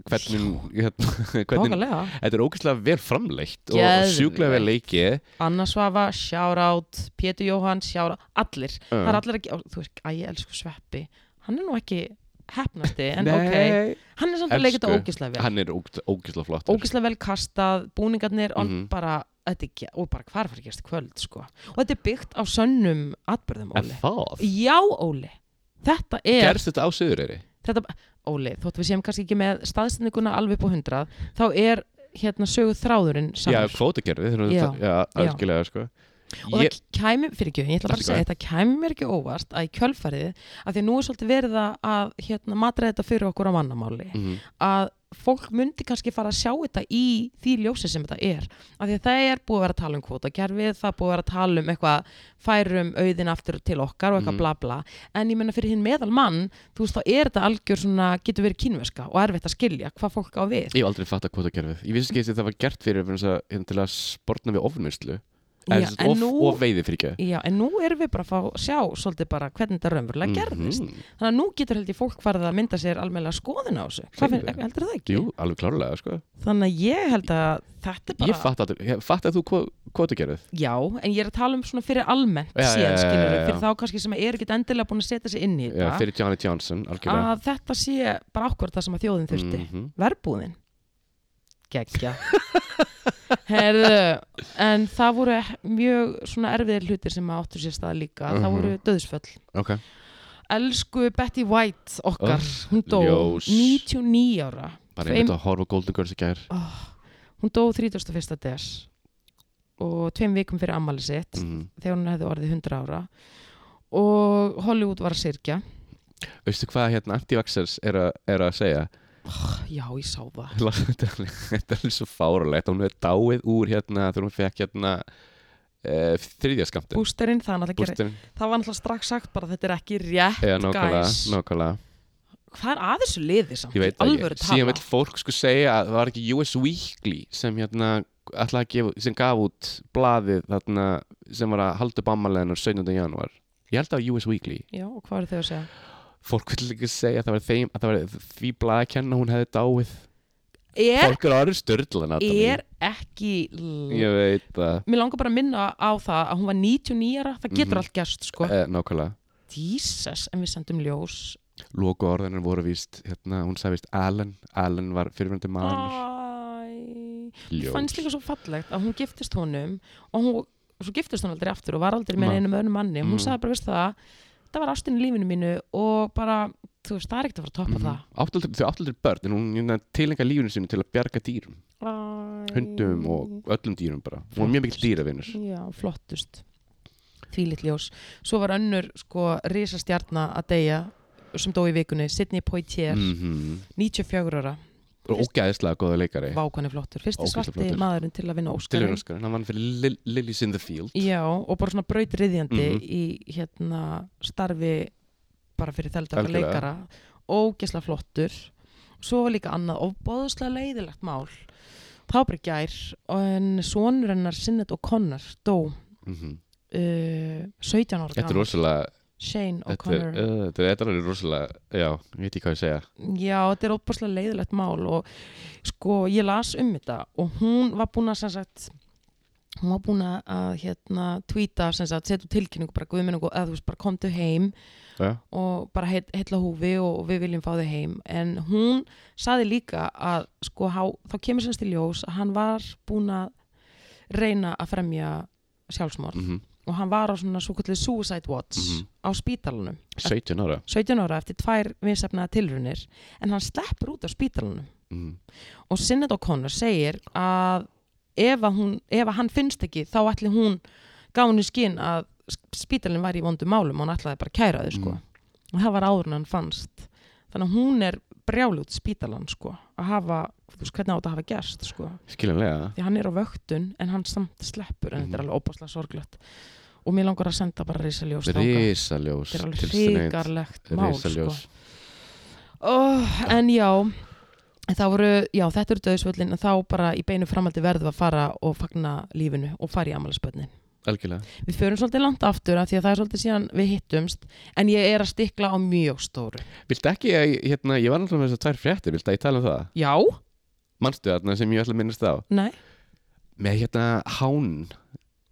B: hvernig, hérna, *laughs* hvernig
A: Tókalega.
B: Þetta er ógeðslega vel framleitt og
A: Geðveikt.
B: sjúklega vel leikið
A: Anna Svafa, shoutout, Pétur Jóhann, shoutout, allir. Það er
B: Uh.
A: allir að gera, þú veist, að ég elsku Sveppi. Hann er nú ekki hefnasti, en ok.
B: Nei,
A: Hann er samt að leika þetta
B: Elsku.
A: ógislega vel.
B: hann er ógeðslega flott
A: Ógislega vel kastað, búningarnir, mm
B: Mhm.
A: bara þetta er, ge- og bara hvar var að gerast í kvöld sko. og þetta er byggt á sönnum atbyrðum
B: En
A: Óli
B: það,
A: já Óli, þetta er
B: gerst þetta á Suðureyri?
A: þetta, Óli, þótt við séum kannski ekki með staðstendinguna alveg upp á hundrað þá er hérna sögu þráðurinn
B: Já,
A: samur
B: kvótakerfið, þegar þú-
A: Já,
B: já, algjörlega, sko
A: og
B: Ég,
A: það kæmi, fyrir ekki, ég ætla bara að
B: Allt í
A: segja þetta kæmi mér ekki óvart að í kjölfarið að því að nú er svolítið verið að- að hérna, matra þetta fyrir okkur á mannamáli
B: mm,
A: að fólk myndi kannski fara að sjá þetta í því ljósi sem þetta er af því að það er búið að vera að tala um kvótakerfið það er búið að vera að tala um eitthvað færum auðin aftur til okkar og eitthvað
B: Mhm.
A: bla bla en ég menna fyrir hinn meðal mann þú veist þá er þetta algjör svona getur verið kínverska og erfitt að skilja hvað fólk á við
B: ég hef aldrei fatt að kvótakerfið Ég vissi ekki að það var gert fyrir fyrir að, hérna, til að sportna við ofnmyrslu
A: Já,
B: of,
A: en nú-
B: of veiði fyrir ekki
A: Já, en nú erum við bara að fá sjá svolítið bara hvernig þetta
B: Mhm.
A: raunverulega gerðist þannig að nú getur held ég fólk farið að mynda sér almennilega skoðin á þessu Hvað
B: Segðu
A: finn-
B: það.
A: heldur það ekki?
B: Jú, alveg klárlega, sko
A: Þannig að ég held að þetta er bara
B: Ég fatt að, fatt að þú kvótakerfið
A: Já, en ég er að tala um svona fyrir almennt
B: Já, já,
A: síðan
B: já,
A: skilur
B: já, já.
A: fyrir þá kannski sem er ekkert endilega búin að setja sig inn í
B: Já,
A: þetta
B: fyrir Janet Johnson, algjörlega
A: að þetta sé bara ákvörð það sem að þjóðin Ah, þurfti
B: Mhm.
A: verbúðin
B: *laughs*
A: geggja Herðu, en það voru mjög svona erfiðir hlutir sem að áttu sér stað líka það
B: Mhm.
A: voru döðsföll
B: Ok,
A: Elsku Betty White okkar
B: Öff,
A: hún dó
B: ljós.
A: 99 ára
B: bara
A: Tveim-
B: einmitt að horfa á Golden Girls í gær
A: oh, hún dó 31. des og tveim vikum fyrir ammali sitt
B: mm.
A: þegar hún hefði orðið 100 ára og Hollywood var að syrkja
B: Veistu hvað hérna anti-vaxxers er, að- er að segja?
A: já, ég sá það
B: Las- *laughs* Þetta er alveg- þetta er alveg svo fáralegt Hún hefði dáið úr hérna þegar hún fekk hérna e, þriðja skamtinn
A: bústerinn, það, er náttúrulega gerir-
B: Bústin
A: það var náttúrulega strax sagt bara þetta er ekki rétt
B: Já, nákvæmlega,
A: guys.
B: nákvæmlega
A: hvað er að þessu liði samt,
B: Ég veit það
A: alvöru
B: ekki Síðan
A: tala
B: vill fólk sko segja að það var ekki US Weekly sem hérna ætlaði að gefa, sem gaf út blaðið þarna sem var að halda bammaleginu 17. janúar Ég held að það var US Weekly
A: já, og hvað eru þau að segja
B: Fólk vill ekki segja að það var, þeim, að það var því blaði að kenna að hún hefði dáið
A: er,
B: Fólk eru aðrið störðlan
A: er ekki l-
B: Ég veit það
A: mér langar bara að minna á það að hún var 99 ára, það getur
B: Mhm.
A: allt gerst sko.
B: eh, Nákvæmlega
A: Jesus, en við sendum ljós
B: Loku orðinir voru víst hérna, Hún sagði víst Alan Alan var fyrirvændi maður
A: Æ,
B: Ljós.
A: fannst líka svo fallegt að hún giftist honum og hún, svo giftist hún aldrei aftur og var aldrei með
B: Ma-
A: einum öðrum manni hún
B: Mm.
A: sagði bara, veist það, það var ástin í lífinu mínu og bara, þú veist, það er ekkert að fara að toppa
B: Mhm. Áttu aldrei- Þau áttu aldrei börn En hún hérna, tilengja lífinu sinu til að bjarga dýrum
A: Mm. það
B: Hundum og öllum dýrum bara Hún var mjög mikil dýravinur
A: já, flottust því litljós, svo var önnur sko risastjarna að deyja sem dó í vikunni, Sidney Poitier
B: mm -hmm.
A: 94 ára,
B: Og ógæðislega góða leikari
A: vákvæni flottur fyrsti
B: Ógeðslega
A: svarti
B: flottur.
A: maðurinn til að vinna Óskarinn
B: Tilhjörn Óskar Hann vann fyrir Lil Lilies in the Field
A: Já, og bara svona brautriðjandi
B: Mhm.
A: í hérna starfi bara fyrir þelda okkar
B: Algjörlega.
A: leikara ógesla flottur svo var líka annað ofbóðslega leiðilegt mál þá bara í gær en sonur hennar Sinnet O'Connor dó
B: mm -hmm.
A: uh, 17 ára
B: Þetta er
A: gamall.
B: rosalega
A: Shane
B: Þetta er,
A: O'Connor
B: uh, þetta er- þetta er alveg rosalega Já, ég veit ekki hvað ég segja
A: Já, þetta er óbúslega leiðilegt mál og sko, ég las um þetta og hún var búin að sem sagt hún var búin að hérna tvíta sem sagt, setja út tilkynningu bara guðmenningu eða þú veist, bara komdu heim
B: Já.
A: og bara heit, heitla húfi og, og við viljum fá þau heim en hún saði líka að sko, há, þá kemur semst í ljós að hann var búin að reyna að fremja sjálfsmorð
B: mm
A: og hann var á svona svo kallið suicide watch
B: Mhm.
A: á spítalunum
B: 17 ára
A: 17 ára eftir tvær vinsefnaða tilrunir en hann sleppur út af spítalunum
B: mm
A: og Sinnet O'Connor segir að ef, að hún, ef að hann finnst ekki þá ætli hún gaf hún í skinn að spítalinn væri í vondum málum og hann ætlaði bara að kæra þau sko
B: Mm.
A: og það var áður en hann fannst þannig að hún er brjálút spítalann sko að hafa, þú veist hvernig á þetta hafa gerst sko
B: Skiljanlega
A: því hann er á vöktun en hann samt sleppur en þetta er
B: Mhm.
A: alveg óbáslega sorglegt og mér langar að senda bara risaljós þangað.
B: Risaljós
A: þetta er
B: til
A: alveg
B: sinni einn.
A: hrigarlegt mál sko
B: Risaljós
A: oh, en já það voru, já þetta eru döðsvöllin en þá bara í beinu framaldi verðum við að fara og fagna lífinu og fara í amalaspötnin
B: Algjörlega
A: við förum svolítið langt aftur af því að það er svolítið síðan við hittumst en ég er að stikla á mjög stóru
B: Viltu ekki að, ég- hérna, ég var náttúrulega með þessar tvær fréttir, viltu að ég tala um það?
A: já,
B: Manstu þarna sem ég ætla að minnast á?
A: nei
B: Með hérna Hán,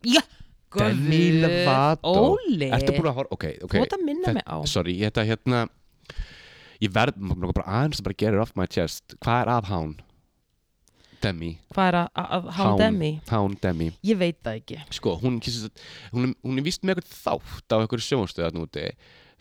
B: Demi
A: Guð,
B: Lovato.
A: Óli,
B: ertu búin að horfa, ok, ok,
A: þú ert að minna
B: Þetta-
A: mig á
B: sorry, þetta hérna, ég verð, maður langar bara aðeins að bara gera it off my chest, hvað er af Hán? Demi
A: hvað er að, að hán demi?
B: Hán Demi
A: Ég veit það ekki.
B: sko, hún, kýsist, hún, hún er vist með eitthvað þátt á eitthvað sjónstöðan úti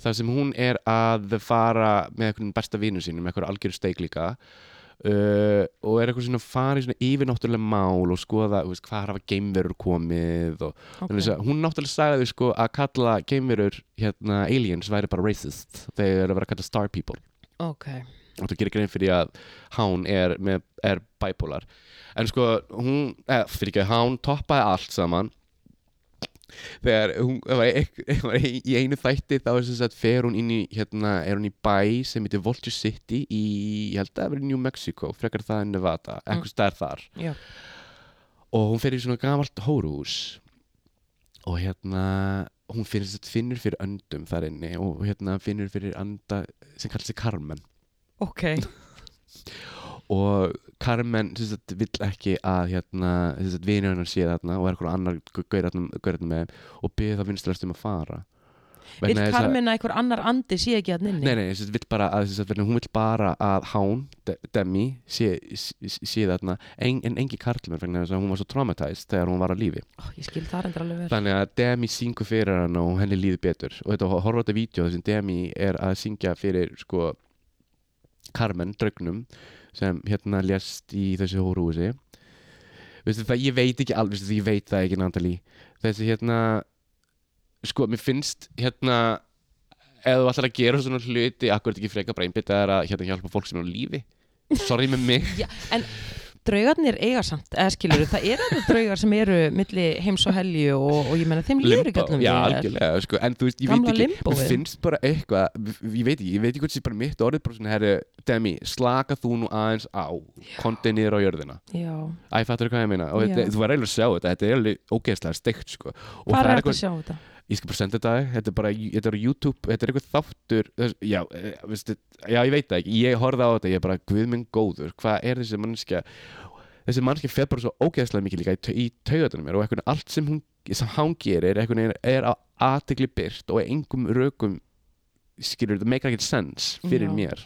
B: þar sem hún er að fara með eitthvað besta vinnu sínum, með eitthvað algjör steik líka uh, og er eitthvað svona að fara í svona yfirnáttúrulega mál og skoða þú veist, hvað hafa geimverur komið og
A: Okay.
B: Þannig að hún náttúrulega sagði sko að kalla geimverur hérna aliens væri bara racist þegar eru að vera að kalla star people
A: ok,
B: og þú gerir grein fyrir því að Hán er, með, er bipolar en sko hún, eða fyrir ekki Hán toppaði allt saman þegar hún e, það *laughs* var, ek, var í í einu þætti þá er þess að fer hún inn í hérna, er hún í bæ sem heitir Vulture City í, ég held að það verið New Mexico frekar það en Nevada, eitthvað stær þar
A: já.
B: og hún fer í svona gamalt hóruhús og hérna hún finnur, finnur fyrir öndum þar inni og hérna finnur fyrir anda sem kallar sig Carmen
A: Ok,
B: og Carmen sem sagt, vill ekki að hérna, sem sagt, vinur hennar sé þarna og er eitthvað annar gaurðan með þeim og byrði það vinstlæst um að fara
A: vil
B: Vegna þess að-
A: Carmen að einhver annar andi sé ekki að
B: Nei,
A: nynni?
B: nei, þess að vill bara að, þess að verðin, hún vill bara að Hán, De Demi, sé, sé, sé þarna, en, en engi karlmenn vegna þess að hún var svo traumatized þegar hún var á lífi.
A: Ó, ég skil það endur alveg vel.
B: Þannig að Demi syngur fyrir hann og henni líður betur og þetta að horfa á þetta vídeo þar sem Demi er að syngja fyrir sko Carmen, draugnum sem hérna lést í þessu hóruhúsi veistu það, ég veit ekki alveg veistu, ég veit það ekki Natalie þessi hérna sko, mér finnst hérna ef þú ætlar að gera svona hluti akkur ekki freka bara einbytta það er að hérna hjálpa fólk sem er á lífi sorry með mig
A: Já, en draugarnir eiga samt, eða skilur, það eru alveg draugar sem eru milli heims og helju og, og *laughs* ég menna þeim líður ekki
B: Limbó,
A: allum
B: já,
A: vel.
B: algjörlega, sko, en þú veist, ég
A: Gamla
B: veit ekki,
A: limbóið.
B: mér finnst bara eitthvað, ég veit ekki, ég veit ekki hvort sé bara mitt orðið, bara svona, herri, Demi, slaka þú nú aðeins á, kontið niður á jörðina,
A: Já,
B: æ, fattur hvað ég meina, og
A: Já.
B: þetta, þú verður eiginlega að sjá þetta, þetta er alveg ógeðslega steikt, sko, og
A: hvað er þetta
B: það er
A: að
B: eitthvað,
A: sjá þetta?
B: ég skal bara senda þetta, þér, þetta er bara, þetta er á YouTube, þetta er eitthvað þáttur, þess- já, eh, veistu, já, ég veit það ekki, ég horfði á þetta, ég er bara, guð minn góður, hvað er þessi mannskja, þessi mannskja fer bara svo ógeðslega mikið líka í, tau- í taugatunum mér og eitthvað allt sem hún sem hann gerir einhvern veginn er á aðtegli byrt og engum rökum skilur, það meikar ekkert sens fyrir
A: Já.
B: mér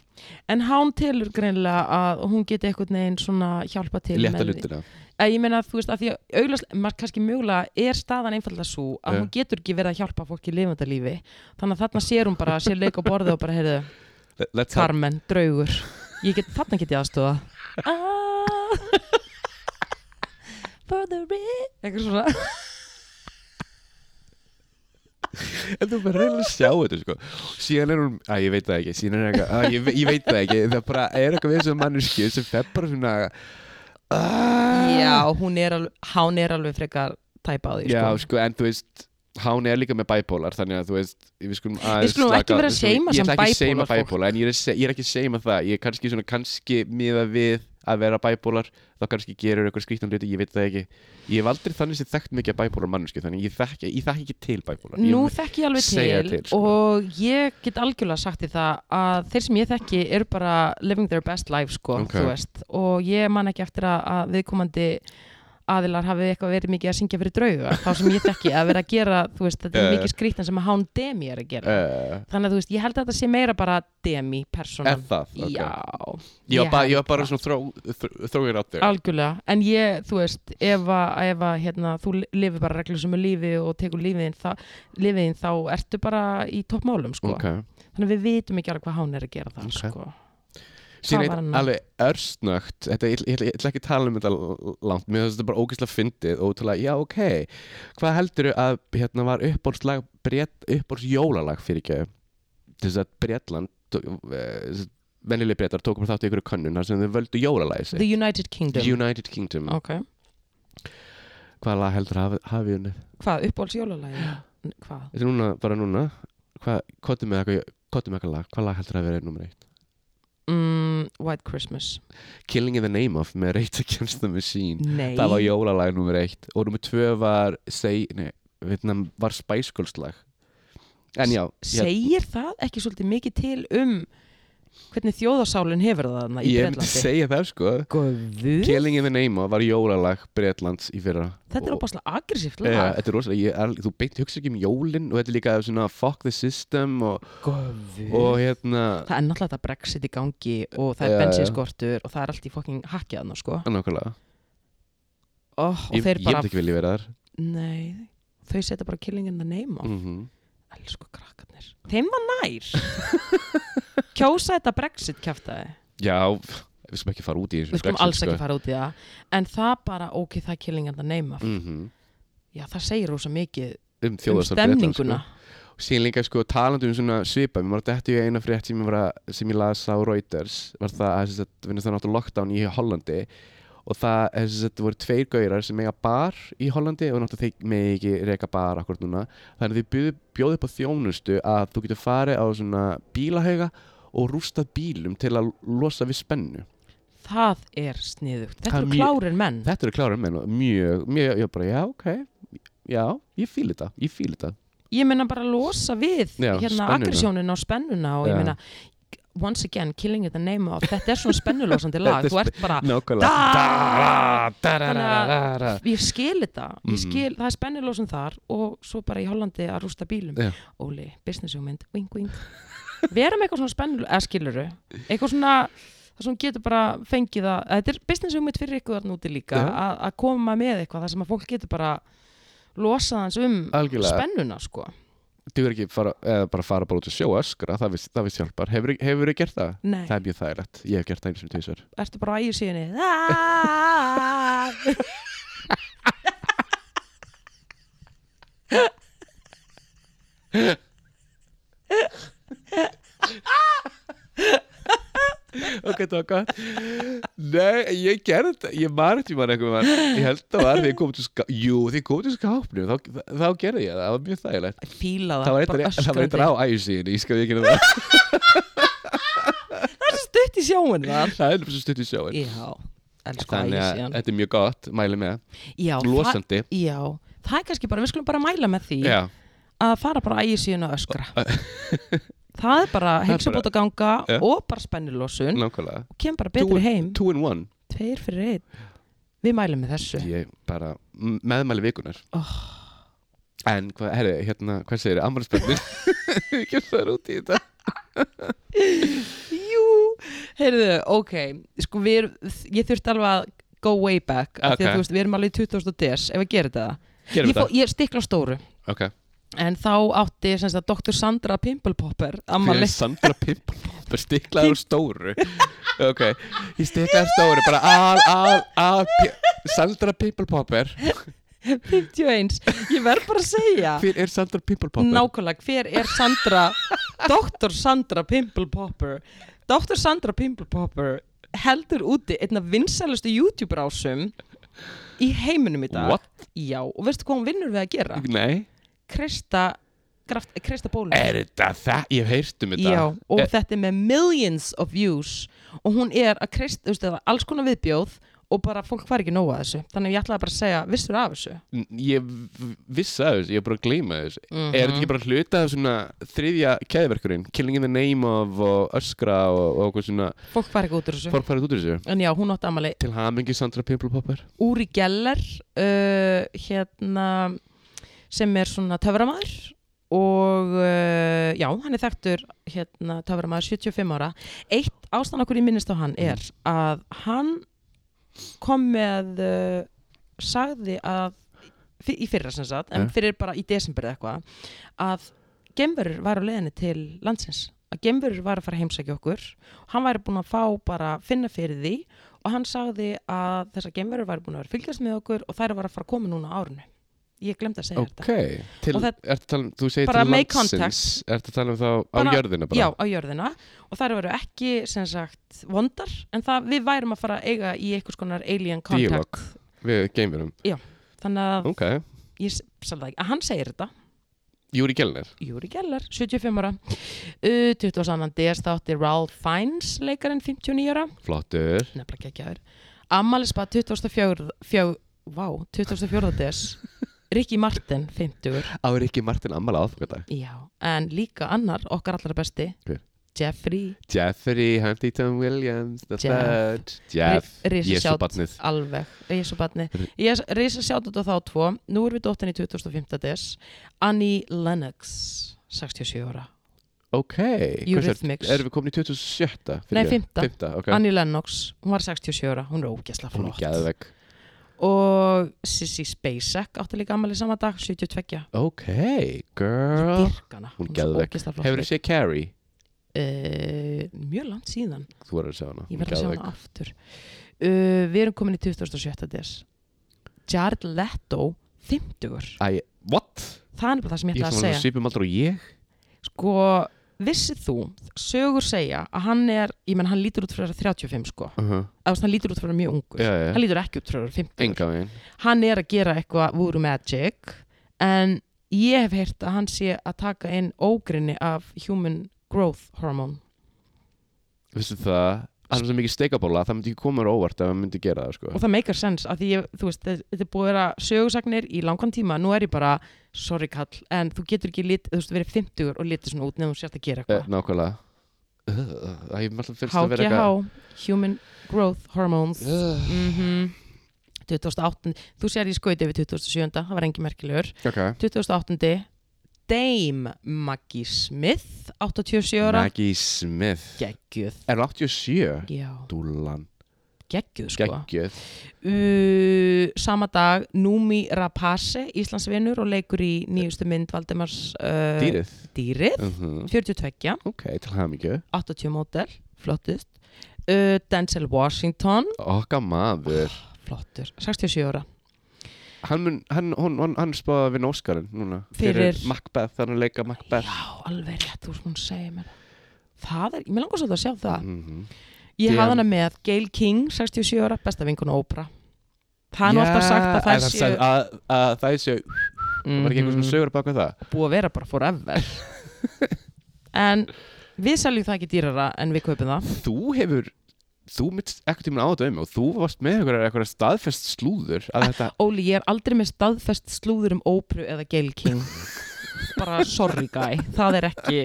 A: En hán telur greinilega að hún geti einhvern veginn svona hjálpa til.
B: leta
A: með-
B: hlutina
A: Eh, Ég meina, þú veist, að því að auglast, maður kannski mögulega er staðan einfalda svo að
B: Já.
A: hún getur ekki verið að hjálpa fólki í lifandalífi. Þannig að þarna sér hún bara, sér leik á borðið og bara, heyrðu,
B: Let- let's help.
A: Carmen, draugur. Ég get, þarna get ég *laughs* aðstofa. Ah, for the rich. Eitthvað svona.
B: en þú verður reynilega að sjá þetta sko. síðan er hún, að ég veit það ekki síðan er eitthvað, að ég, ve- ég veit það ekki það bara er eitthvað við þessum manneskju sem fer bara svona "Ah!" aaaah
A: Já, hún er alveg, hán er alveg frekar tæpa á því,
B: Já,
A: sko.
B: sko, en þú veist Hán er líka með bipolar, þannig að þú veist Við skulum, aðeins
A: skulum
B: slaka-
A: ekki vera að
B: við skulum-
A: seima
B: Ég ætla
A: samt
B: ekki að seima
A: bipolar fólk.
B: bipolar En ég er, að se- ég er ekki að seima það Ég er kannski svona, kannski miða við að vera bipolar Þá kannski gerur eitthvað skrýttan hluti, ég veit það ekki Ég hef aldrei þannig sem þekkt mikið að bipolar mannsku Þannig ég þekki, ég þekki ekki til bipolar sko, ég,
A: Nú þekki ég alveg
B: segja
A: til,
B: til, sko.
A: og ég get algjörlega sagt í það að þeir sem ég þekki eru bara living their best life sko,
B: Ok.
A: þú veist og ég man ekki eftir að, að viðkomandi aðilar hafi eitthvað verið mikið að syngja fyrir drauga þá sem ég þekki að vera að gera þú veist, þetta
B: *laughs* Eh.
A: er mikið skrýttan sem að hán demi er að gera
B: uh,
A: þannig að þú veist, ég held að þetta sé meira bara demi
B: Er
A: persónan
B: það? Okay.
A: Já,
B: Ég var
A: ég
B: bara, ég var
A: held
B: bara
A: það.
B: svona þró- þróir átt þér
A: algjörlega, en ég, þú veist ef að, ef að hérna, þú li- lifir bara reglur sem er lífi og tekur lífiðin þá, lífiðin, þá ertu bara í toppmálum sko.
B: okay.
A: þannig að við vitum ekki alveg hvað hann er að gera það
B: Ok.
A: sko.
B: Síðan
A: Það var
B: eitt
A: annað.
B: alveg örsnögt þetta, ég, ætla- ég, ætla- ég ætla ekki að tala um þetta l- langt mér finnst þetta bara ógeðslega fyndið og útrúlega, já ok, hvað heldur að hérna var uppbólslag uppbóls jólalag fyrir ekki þess að Bretland eh, vennileg brettar tók bara þátt í ykkur könnunar sem þau völdu jólalagi
A: The
B: sig
A: United Kingdom Oh.
B: United Kingdom,
A: Ok,
B: hvað lag heldur að hafi- hafi unnið
A: hvað, uppáhalds jólalægi? Hvað?
B: þetta er núna, bara núna hvað, kottum með eitthvað kottum með eitthvað lag, hvað lag heldur að vera nummer eitt
A: Mm, White Christmas
B: Killing in the Name of með Rage Against the Machine
A: Nei,
B: Það var jólalag nummer eitt og nummer tvö var seg, nei, veitna, var Spice Girls lag En já, ég-
A: segir það ekki svolítið mikið til um hvernig þjóðasálinn hefur það þarna í
B: Ég myndi
A: Breitlandi
B: segja það sko
A: Guðu,
B: Killing in the Name of var jólalag Breitlands í fyrra
A: þetta er
B: Og-
A: opaslega aggressíft
B: Já,
A: lag
B: þetta er rosalega, ég, er, þú beint hugsa ekki um jólin og þetta er líka svona fuck the system og,
A: Guðu
B: og hérna
A: Það er náttúrulega þetta brexit í gangi og það er
B: Já, já.
A: bensinskortur og það er allt í fucking hakkiðan sko.
B: nákvæmlega,
A: oh, og
B: ég,
A: þeir
B: ég
A: bara
B: myndi ekki vilja vera þar
A: Nei, þau setja bara killingin að neyma
B: mm -hmm.
A: Elsku krakkarnir Þeim var nær *laughs* Kjósa þetta brexit kjaftaði
B: Já, við skulum ekki fara út í þessu
A: Við skulum alls
B: sko.
A: ekki fara út í það En það bara, ok, það er killingin að neyma
B: mm -hmm.
A: Já, það segir rosa mikið
B: um
A: um
B: þjóðastar
A: stemninguna
B: síðan líka sko talandi um svona svipa mér var þetta í eina frétt sem ég, var að, sem ég las á Reuters var það að þess að vinna það náttúrulega lockdown í Hollandi og það er þess að þetta voru tveir gaurar sem eiga bar í Hollandi og náttúrulega þeir megi ekki reka bar akkur núna þannig að þeir bjóðu, bjóðu upp á þjónustu að þú getur farið á svona bílahauga og rústað bílum til að losa við spennu
A: Það er sniðugt Þetta
B: Það er
A: eru
B: mjög-
A: klárir menn
B: þetta eru klárum menn og mjög, mjög, ég var bara já ok já, ég fíl þetta, ég fíl þetta
A: Ég meina bara losa við
B: Já,
A: hérna
B: spennuna.
A: aggressjónina og spennuna og ég
B: Já.
A: meina once again, killing it a name of þetta er svona spennulósandi lag,
B: *laughs* Þetta er
A: þú ert bara
B: nákvæmlega
A: Da-
B: Da- da- da- da- da- da- da-
A: ég skil þetta
B: Mhm.
A: ég skil, það er spennilósum þar og svo bara í Hollandi að rústa bílum
B: Já.
A: Óli, business hugmynd, wink wink við erum eitthvað svona spennilósum, eða skiluru eitthvað svona það sem getur bara fengið að, þetta er business hugmynd fyrir ykkur þarna úti líka,
B: Já.
A: að að koma með eitthvað þar sem að fólk getur bara losað hans um
B: Algjörlega.
A: spennuna sko
B: dugur ekki fara, eða bara fara bara út og sjó öskra, það vist, það vist hjálpar hefur, hefur þið gert það?
A: Nei,
B: Það er mjög þægilegt, ég hef gert það eins og tísar
A: ertu bara á Ah! ægir *laughs* síðinni
B: Ok, það var gott Nei, ég gerði þetta, ég marði tíma einhverjum, ég held það var þegar ég kom til skápnum Jú, þegar ég kom til skápnum, þá, þá, þá gerði ég það, það var mjög þægilegt
A: fíla það,
B: Það var
A: bara
B: eitthvað, það var
A: öskrandi.
B: eitthvað á æsíðin, ég skal ekki gera það
A: það er svo stutt í sjóin þar
B: Það er svo stutt í sjóin
A: já, elsku ægir
B: Þannig að
A: síðan
B: þetta er mjög gott, mæli með það.
A: já, það-
B: Losandi,
A: Já, það er kannski bara, við skulum bara mæla með því
B: já,
A: að fara bara ægir síðan að
B: *laughs*
A: öskra. það er bara heilsubóta ganga
B: Já.
A: og bara spennilósun
B: nákvæmlega
A: og kem bara betri heim,
B: Two in one,
A: tveir fyrir einn. Við mælum með þessu.
B: ég bara, m- meðmæli vikunar
A: Oh,
B: En, hvað, herri, hérna, hvað segir þið? *laughs* Ammarspennir? Við kemst það út í þetta.
A: jú, heyrðu, ok, sko við, erum- ég þurfti alveg að go way back, af því
B: Ok.
A: að þú veist, við erum alveg í 2000 des, ef við gerum þetta. ég,
B: Gerum við það?
A: ég stikla á stóru,
B: Ok.
A: en þá átti sem sagt Dr. Sandra Pimplepopper, ammali.
B: Fyrir
A: *laughs*
B: Sandra Pimpolpopper, stiklaður úr stóru. Ok, ég stiklaður stóru, bara al, al, al, pi- Sandra Pimpolpopper.
A: 51, ég verð bara að
B: *laughs*
A: segja.
B: Hver er Sandra Pimpolpopper?
A: Nákvæmlega, hver er Sandra
B: *laughs*
A: Dr. Sandra Pimple Popper Dr. Sandra Pimple Popper heldur úti einna vinsælustu YouTube rásum í heiminum í dag
B: What?
A: Já, og veistu hvað hún vinnur við að gera?
B: Nei.
A: Krista, graft, Krista Bólu
B: Er þetta það? Ég hef heyrt um þetta.
A: Já, og
B: Er-
A: þetta er með millions of views og hún er að Krist, þú veist það, er alls konar viðbjóð og bara fólk var ekki nóga þessu þannig að ég ætlaði bara að segja, vissur af þessu?
B: N- Ég v- vissi að þessu, ég er bara að gleyma þessu. Er
A: Mhm.
B: þetta ekki bara hluta af svona þriðja keðverkurinn? Killing in the name of og öskra og, og okkur svona
A: Fólk var ekki út úr þessu
B: forfærið út í þessu?
A: En já, hún átti amali
B: Til hamingi Sandra Pimpolpopper?
A: Úri Geller uh, hérna sem er svona töframæður og uh, já, hann er þekktur hérna töframæður 75 ára eitt ástæðan okkur ég minnist á hann er að hann kom með uh, sagði að fyr- í fyrra sem sagt, en
B: Ja.
A: fyrir bara í desember eða eitthvað, að gemverur var á leiðinni til landsins að gemverur var að fara að heimsækja okkur hann væri búin að fá bara finna fyrir því og hann sagði að þessar gemverur væri búin að vera að fylgjast með okkur og þær var að fara að koma núna á árinu ég glemd að segja
B: Ok, til,
A: Og það-
B: ertu að tala um, þú segir
A: Bara
B: til
A: make
B: landsins, ertu að tala um þá
A: Bara-
B: á jörðina bara?
A: já, á jörðina og þær voru ekki sem sagt vondar en það, við værum að fara að eiga í einhvers konar alien contact
B: Díalóg. Við geimurum,
A: þannig að
B: ok.
A: ég sagði það ekki að hann segir þetta
B: Júri Gjellner,
A: Júri Geller, 75 ára uh, 22. DS þátti Ralph Fiennes leikarinn 59 ára
B: flottur.
A: nefnilega ekki aður Amalispa 24 fjó, vá, 24. DS
B: *laughs*
A: Ricky Martin 50
B: Á er ekki Martin Amal aðfokadag.
A: já, en líka annar okkar allra besti
B: Hver?
A: Jeffrey
B: Jeffrey Huntington Williams the
A: Jeff.
B: third Jeff, Jésu
A: Rísasjátt
B: barnið
A: alveg, Rísasbarnið Rísasjátt á þá tvo, nú erum við dóttin í 2015 des Annie Lennox 67 ára,
B: Ok, Eh, hvers er,
A: Eurythmics.
B: erum við komin í 2007?
A: Nei, fimmta.
B: 5. ok
A: Annie Lennox hún var 67 ára, hún er ógæsla
B: Hún er
A: flott
B: geðvegg
A: og Sissy Spacek átti líka ammali sama dag, 72
B: Ok, girl
A: Dyrkana,
B: Hún geðveg Hefur þú séð Carrie?
A: Uh, mjög langt síðan
B: Þú verður að sjá hana
A: ég
B: Hún
A: verð að sjá
B: geðveik.
A: hana aftur uh, við erum komin í 2007. des Jared Leto 50
B: Æ, what?
A: það er bara það sem ég ætla að
B: Ég sem var alveg
A: segja
B: svipum aldrei og ég
A: sko, vissið þú sögur segja að hann er ég menn hann lítur út fyrir að vera 35 sko
B: uh -huh.
A: eða þú veist, hann lítur út fyrir að vera mjög ungur
B: Já, já, já.
A: hann lítur ekki út fyrir að vera 50
B: Enga veginn
A: hann er að gera eitthvað voodoo magic en ég hef heyrt að hann sé að taka inn ógrinni af human growth hormone
B: Vistu það Það er svo mikið steikabóla Það myndi ekki koma mér á óvart ef hann myndi gera það sko
A: og það meikar sens að því ég, þú veist, þe- þetta er búið að vera sögursagnir í langan tíma, nú er ég bara sorry kall, en þú getur ekki lit, þú veist, verið 50 og litið svona út nefnum sérst að gera
B: Eh,
A: eitthvað
B: Nákvæmlega Það er alltaf fyrst að vera
A: HGH, Human Growth Hormones
B: eitthvað
A: mhm 2008, þú sér ég skoði yfir 2007, það var engi merkilegur
B: Ok
A: 2008, Dame Maggie Smith 87 ára,
B: Maggie Smith
A: geggjöð
B: Er hún 87?
A: já,
B: Dúlan
A: geggjöð sko
B: Geggjöð
A: uh, sama dag Númi Rapace, Íslandsvinur og leikur í nýjustu mynd Valdemars uh,
B: Dýrið
A: Dýrið,
B: uh -huh.
A: 42,
B: Ok, til hamingju
A: 80 mótel, flottust uh, Denzel Washington
B: Okka maður
A: flottur, 67 ára
B: Hann, mun, hann, hún, hann, hann spáði að vinna Óskarinn núna
A: Fyrir-
B: Macbeth, þannig að leika Macbeth
A: já, alveg rétt, þú sem hún segir mér það er, mér langar svolítið að sjá það
B: Mhm.
A: ég
B: Damn.
A: hafði hana með Gail King, 67 ára besta vinkuna ópera það er nú
B: Já,
A: alltaf sagt að
B: en
A: það
B: hann
A: séu Mhm.
B: sagði að, að það séu Það var ekki einhvers með sögur bak við það
A: búið að vera bara
B: *laughs*
A: forever en við seljum það ekki dýrara en við kaupum það
B: Þú hefur Þú mitt ekkert tíma á þetta um mig og þú varst með einhverjar einhverjar staðfest slúður
A: Ah,
B: að þetta
A: Óli, ég er aldrei með staðfest slúður um ópru eða Gail
B: *laughs*
A: King bara sorry guy, það er ekki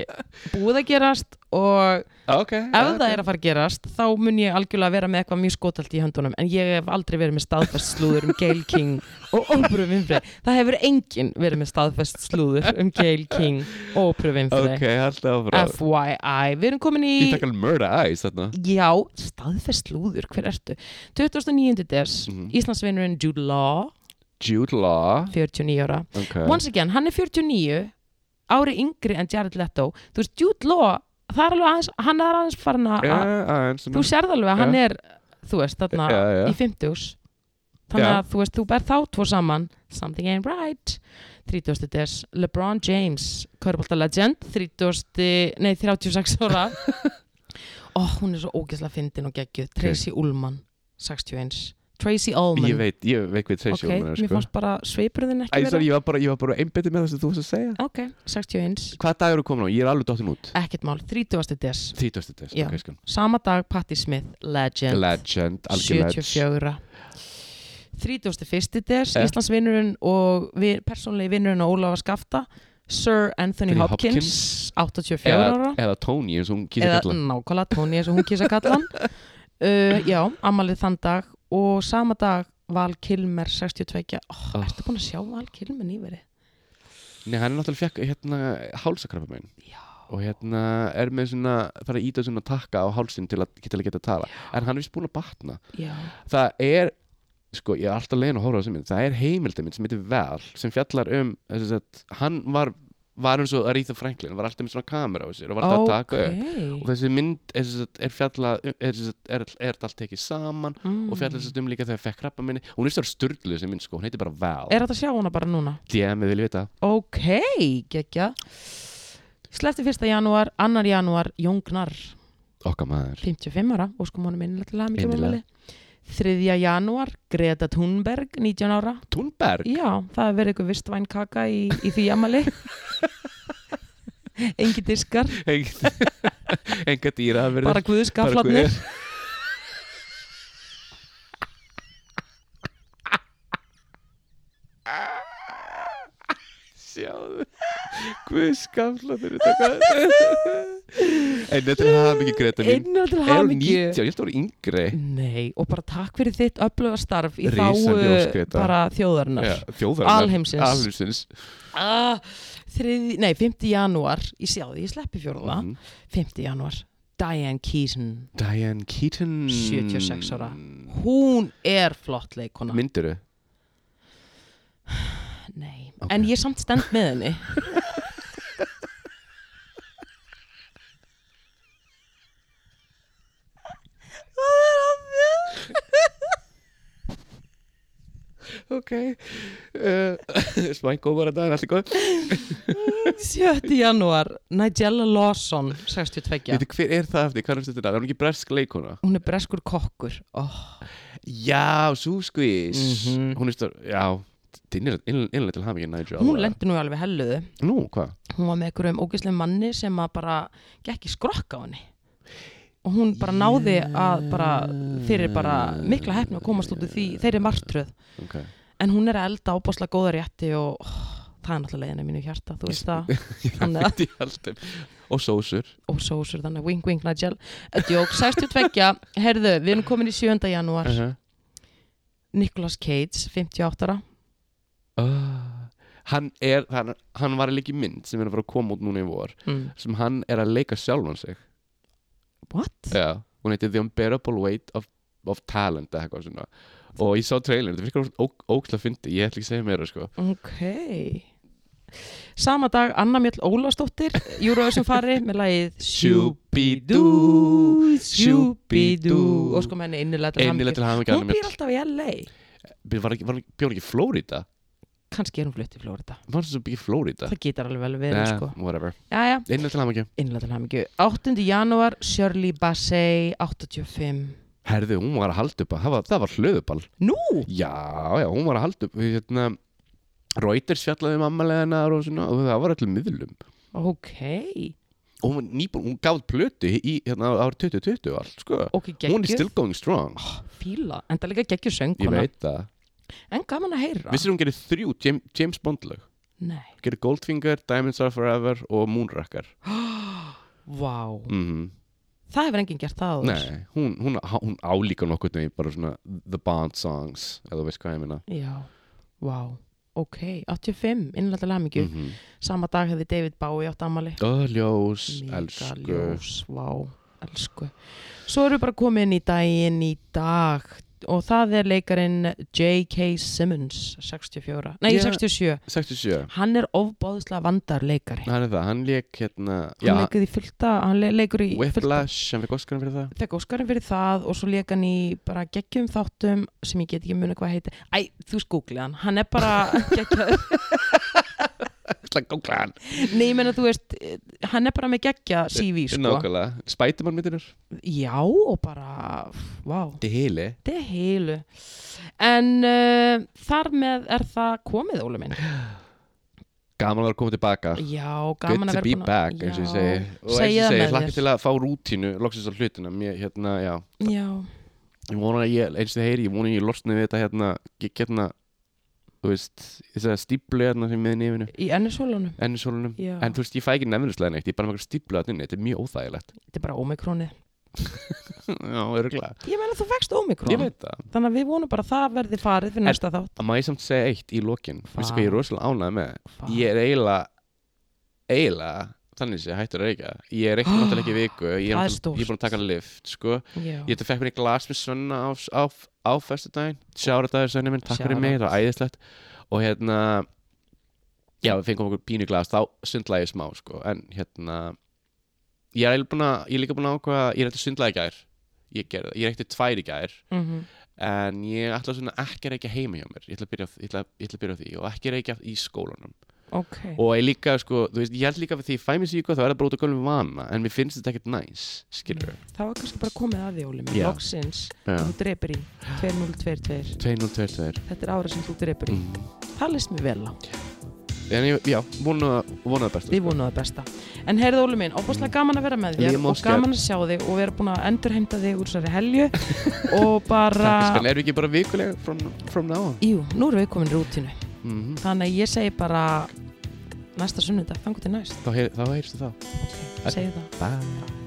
A: búið að gerast og ah, ef
B: okay,
A: það er að fara að gerast þá mun ég algjörlega vera með eitthvað mjög skotalt í höndunum en ég hef aldrei verið með staðfest slúður um Gail King og ópru vinfri það hefur enginn verið með staðfest slúður um Gail King og ópru vinfri
B: Ok, haldið áfram
A: FYI, við erum komin í
B: Ég tek alveg murder eyes þarna
A: Já, staðfest lúður, hver ertu? 2009. des,
B: Mhm.
A: Íslandsvinurinn Jude Law,
B: Jude Law
A: 49 ára.
B: okay.
A: Once again, hann er 49, ári yngri en Jared Leto. Þú veist, Jude Law, það er alveg aðeins, hann er aðeins farin að,
B: ja, aðeins,
A: þú sérð alveg að hann er, þú veist, þarna
B: Já, já.
A: í 50s. Þannig
B: Já.
A: að þú veist, þú berð þá tvo saman, something ain't right. 30. des, LeBron James, Körbólta Legend, 30, nei, 36
B: *laughs*
A: ára. Ó, hún er svo ógeðslega fyndin og geggjuð. Tracy Ullman, 61. Tracy Ullman.
B: Ég veit, ég veit hvað
A: Ok,
B: Tracy Ullman er
A: mér
B: sko.
A: fannst bara sveipurðin ekki
B: Æ, sorry, ég var bara, ég var bara einbyttið með það sem þú varst að segja
A: Ok, 61.
B: Hvaða dag eru komin á? Ég er alveg dottin út
A: Ekkert mál, 30. des.
B: 30. test,
A: Já.
B: ok, skan
A: Sama dag Patti Smith, Legend.
B: Legend, algjör legend
A: 74 31. des
B: Eh.
A: Íslandsvinnurinn og vi, persónlegi vinnurinn á Ólafa Skafta Sir Anthony
B: Anthony
A: Hopkins, 84
B: eða,
A: ára
B: eða Tony, eins og hún kýrði
A: eða
B: kalla
A: nákvæmlega Tony eins og hún kýsa
B: *laughs*
A: kallan uh, já, ammalið þann dag og sama dag Val Kilmer 62 oh,
B: Oh.
A: ertu búin að sjá Val Kilmer nýverið?
B: Nei, hann er náttúrulega fekk hérna hálsakrabba minn og hérna er með svona fara að íta svona takka á hálsin til að geta, geta að tala en hann er vist búin að batna
A: já,
B: það er, sko, ég er alltaf leiðin að horfa á þessu mynd það er heimildið minn sem heitir Val sem fjallar um, þess að hann var var eins og Aretha Franklin var alltaf með svona kamera á sér og var alltaf að taka upp og
A: ok
B: þessi mynd er, sem sagt- er fjallað um- er, sem sagt- er, er þetta allt tekið saman
A: Mm.
B: og fjallað þess að um líka þegar fekk krabba minni hún er stöður styrlu þessi mynd sko, hún heitir bara Val
A: er þetta að sjá hana bara núna?
B: DM, við viljum vita
A: Ok, geggja Slefti 1. janúar, 2. janúar Jóngnar,
B: okkar maður
A: 55 ára óskum honum innlega til aðmyggjum
B: Innilega.
A: ámæli 3. janúar, Greta Thunberg 19 ára,
B: Thunberg
A: já, það hefur verið eitthvað vistvæn kaka í, í því
B: *laughs*
A: ammali Engi diskar,
B: enga dýra hafa verið
A: bara guðskaflarnir
B: sjáðu guðskaflarnir þetta hvað *laughs* En þetta er það mikið greita mín
A: Einna til
B: Er hún
A: hamingju
B: 19? Ég held að hún er yngri
A: Nei, og bara takk fyrir þitt öfluga starf í
B: Risa ljós,
A: þáu
B: Greta.
A: bara þjóðarinnar
B: Já, Þjóðarinnar
A: Alheimsins.
B: Alheimsins
A: ah, þrið, Nei, 5. janúar Ég sjá því, ég sleppi fjórða
B: Mhm.
A: 5. janúar, Diane Keaton
B: Diane Keaton
A: 76 ára. Hún er flott leikona
B: Myndiru?
A: Nei, en ég samt stend með henni Það er að mér
B: Ok
A: Eh,
B: uh, Smængo var þetta, allir góð
A: 7. janúar, Nigella Lawson 62,
B: Veitir, hver er það eftir? Hvað er þetta? Er hún ekki bresk leikona?
A: hún er breskur kokkur oh,
B: Já, Sú Squeeze
A: Mhm.
B: Hún er stór, já Tinnir innlega til hamingin Nigel
A: hún lendi nú í alveg helluðu
B: Nú, hvað?
A: hún var með einhverjum ógeðslega manni sem að bara gekk í skrokk á henni og hún bara náði að bara þeirri bara mikla hefni að komast út úr því þeirri martröð
B: Ok
A: en hún er að elda ábáslega góða rétti og oh, það er náttúrulega leiðin í mínu hjarta þú veist það, þannig að
B: Þetta í haldum Og sósur
A: og sósur þannig að wing wing Nigel Eh, djók, 62, herðu, við erum komin í 7. janúar
B: -huh.
A: Nicolas Cage, 58 ára
B: Ah. Hann er, hann, hann var að leika í mynd sem er að fara að koma út núna í vor
A: mm.
B: sem hann er að leika sjálfan sig
A: what?
B: Já, hún heitir The Unbearable Weight of, of Talent eða eitthvað svona og ég sá trailerin, þetta virkar ók- ógeðslega fyndi ég ætla ekki að segja meira sko
A: ok sama dag Anna Mjöll Ólafsdóttir Júruðsum fari með lagið
B: Shoo-be-doo,
A: Sjúbidú
B: shoo-be-doo.
A: og sko með henni innilega til
B: Einnilega til
A: hamingju.
B: hamingju, Anna
A: hún
B: Mjöll.
A: býr alltaf í LA
B: Bíddu, var ekki- var ekki- Bjó hann ekki í Flórida?
A: kannski er hún flutt í Flórida
B: Var hann sem byggi Flórida?
A: það getur alveg vel verið sko
B: Whatever,
A: Jæja,
B: einnig til hann ekki
A: innlega til hamingju 8. janúar, Shirley Bassey 85
B: Herðu, hún var að halda upp að, það var, það var hlöðuball
A: Nú?
B: Já, já, hún var að halda upp hérna, Reuters fjallaði um ammalegnar og svona, og það var allir miðlum
A: Ok
B: og hún, var nýbúin, hún gáð plötu í, hérna, árið 2020 og allt, sko
A: Ok,
B: Hún er
A: geggjur
B: still going strong,
A: Ah, Fíla, en það líka geggjur
B: ég
A: sönguna
B: veit það
A: En gaman að heyra
B: Vissir hún gerir þrjú James, James Bond lög
A: Nei,
B: Hún Gerir Goldfinger, Diamonds Are Forever og Moonraker
A: vá
B: mm
A: Það hefur enginn gert það áður.
B: Nei, hún, hún, hún álíka nokkuð neginn bara svona The Bond songs, eða þú veist hvað ég minna
A: Já, vá, ok, 85, innlega til hamingju
B: mm -hmm.
A: Sama dag hefði David Bowie átt amali
B: Ljós,
A: Mega
B: elsku
A: ljós, vá, elsku Svo erum við bara komin í daginn í dag Og það er leikarinn J.K. Simmons, 64 Nei,
B: Já.
A: 67
B: 67
A: Hann er ofbáðslega vandar leikari
B: Hann er það, hann leik hérna
A: Hann
B: já,
A: leikur í fullta, hann le leikur í fullta
B: Whiplash, hann fekk Óskarinn fyrir það
A: Fekk Óskarinn fyrir það og svo leik hann í bara geggjum þáttum sem ég get ekki muni hvað heiti Æ, þú skúklið hann, hann er bara
B: *laughs*
A: geggjaður
B: Ætla að gókla hann
A: Nei, ég menna, þú veist, eh, hann er bara með geggja CV, sko.
B: Eh, Hérna Nákvæmlega, Spiderman myndirur
A: Já, og bara, vá,
B: Þetta er hili
A: þetta er heilu. En uh, þar með er það komið, Óli minn.
B: Gaman að vera að koma tilbaka
A: Já,
B: Good
A: gaman
B: to
A: að vera
B: be
A: búin
B: back, eins og ég segi Og eins og
A: Segja
B: ég
A: það
B: segi,
A: með
B: hlakka
A: þér.
B: til að fá rútínu Loksins á hlutina, mér, hérna, já
A: Já,
B: ég vona að ég, eins og það heyri, ég vona að ég losni við þetta hérna, ge- hérna þú veist, þess að stíplu hérna sem miðin yfinu,
A: í ennisólunum.
B: ennisólunum
A: Já,
B: en þú veist, ég fæ ekki nefninslega neitt, ég er bara með stíplu hérna inni, þetta er mjög óþægilegt
A: þetta er bara ómikrónið.
B: *laughs* Já, öruglega
A: Ég menna, þú vext
B: Ég
A: ómikrón.
B: veit það,
A: Þannig að við vonum bara að það verði farið fyrir
B: En-
A: næsta þátt.
B: að má ég samt segja eitt í lokin
A: Vá.
B: veistu hvað ég er rosalega ánægð með
A: Vá.
B: ég er eiginlega, eiginlega þannig sé, hættur að reyka ég
A: *gasps*
B: er eitthvað náttúrulega ekki í viku ég er,
A: Það er
B: náttúrulega- ég er búin að taka lift, sko
A: Já,
B: ég þetta fekk mér í glas með Svenna á, á, á festudaginn, sjára dagur Svenni minn takk fyrir
A: Shout
B: mig,
A: out.
B: það var æðislegt og hérna já, við fengum okkur pínu glas, þá sundla ég smá sko, en hérna ég er, eiginlega búinn að, ég er líka búin að ákvaða ég er eitthvað sundla í gær ég, gerði, það. ég er eitthvað tvær í gær
A: mm
B: en ég ætla svona ekki að reykja heima hjá mér ég ætla að byrja, á- ég ætla, ég ætla að byrja á því og ekki að reykja í skólanum
A: ok.
B: og ég líka, sko, þú veist, ég held líka að því ég fæ mér síku þá er það bara út að gölum vana en mér finnst þetta ekkert næs, skilur
A: Þá er kannski bara komið að því, Óli minn.
B: Já.
A: Loksins,
B: Já.
A: þú drepir í 2022.
B: 2-0-2-2
A: Þetta er árið sem þú drepir í.
B: mm.
A: Það leist mér vel á.
B: En ég, já, vona, vona það besta sko.
A: Við vonum það besta. En heyrðu Óli minn, óbúslega gaman að vera með þér
B: Líka
A: og
B: Óskar.
A: gaman að sjá þig og vera búin að endurheimta þig úr þessari helju og bara...
B: En erum við ekki bara vikulega from, from now on?
A: Jú, nú erum við komin í rútínu.
B: Mm
A: Þannig að ég segi bara næsta sunnudag, þangur til næst.
B: Þá, heyr, þá heyrstu þá
A: Segðu það.
B: Bye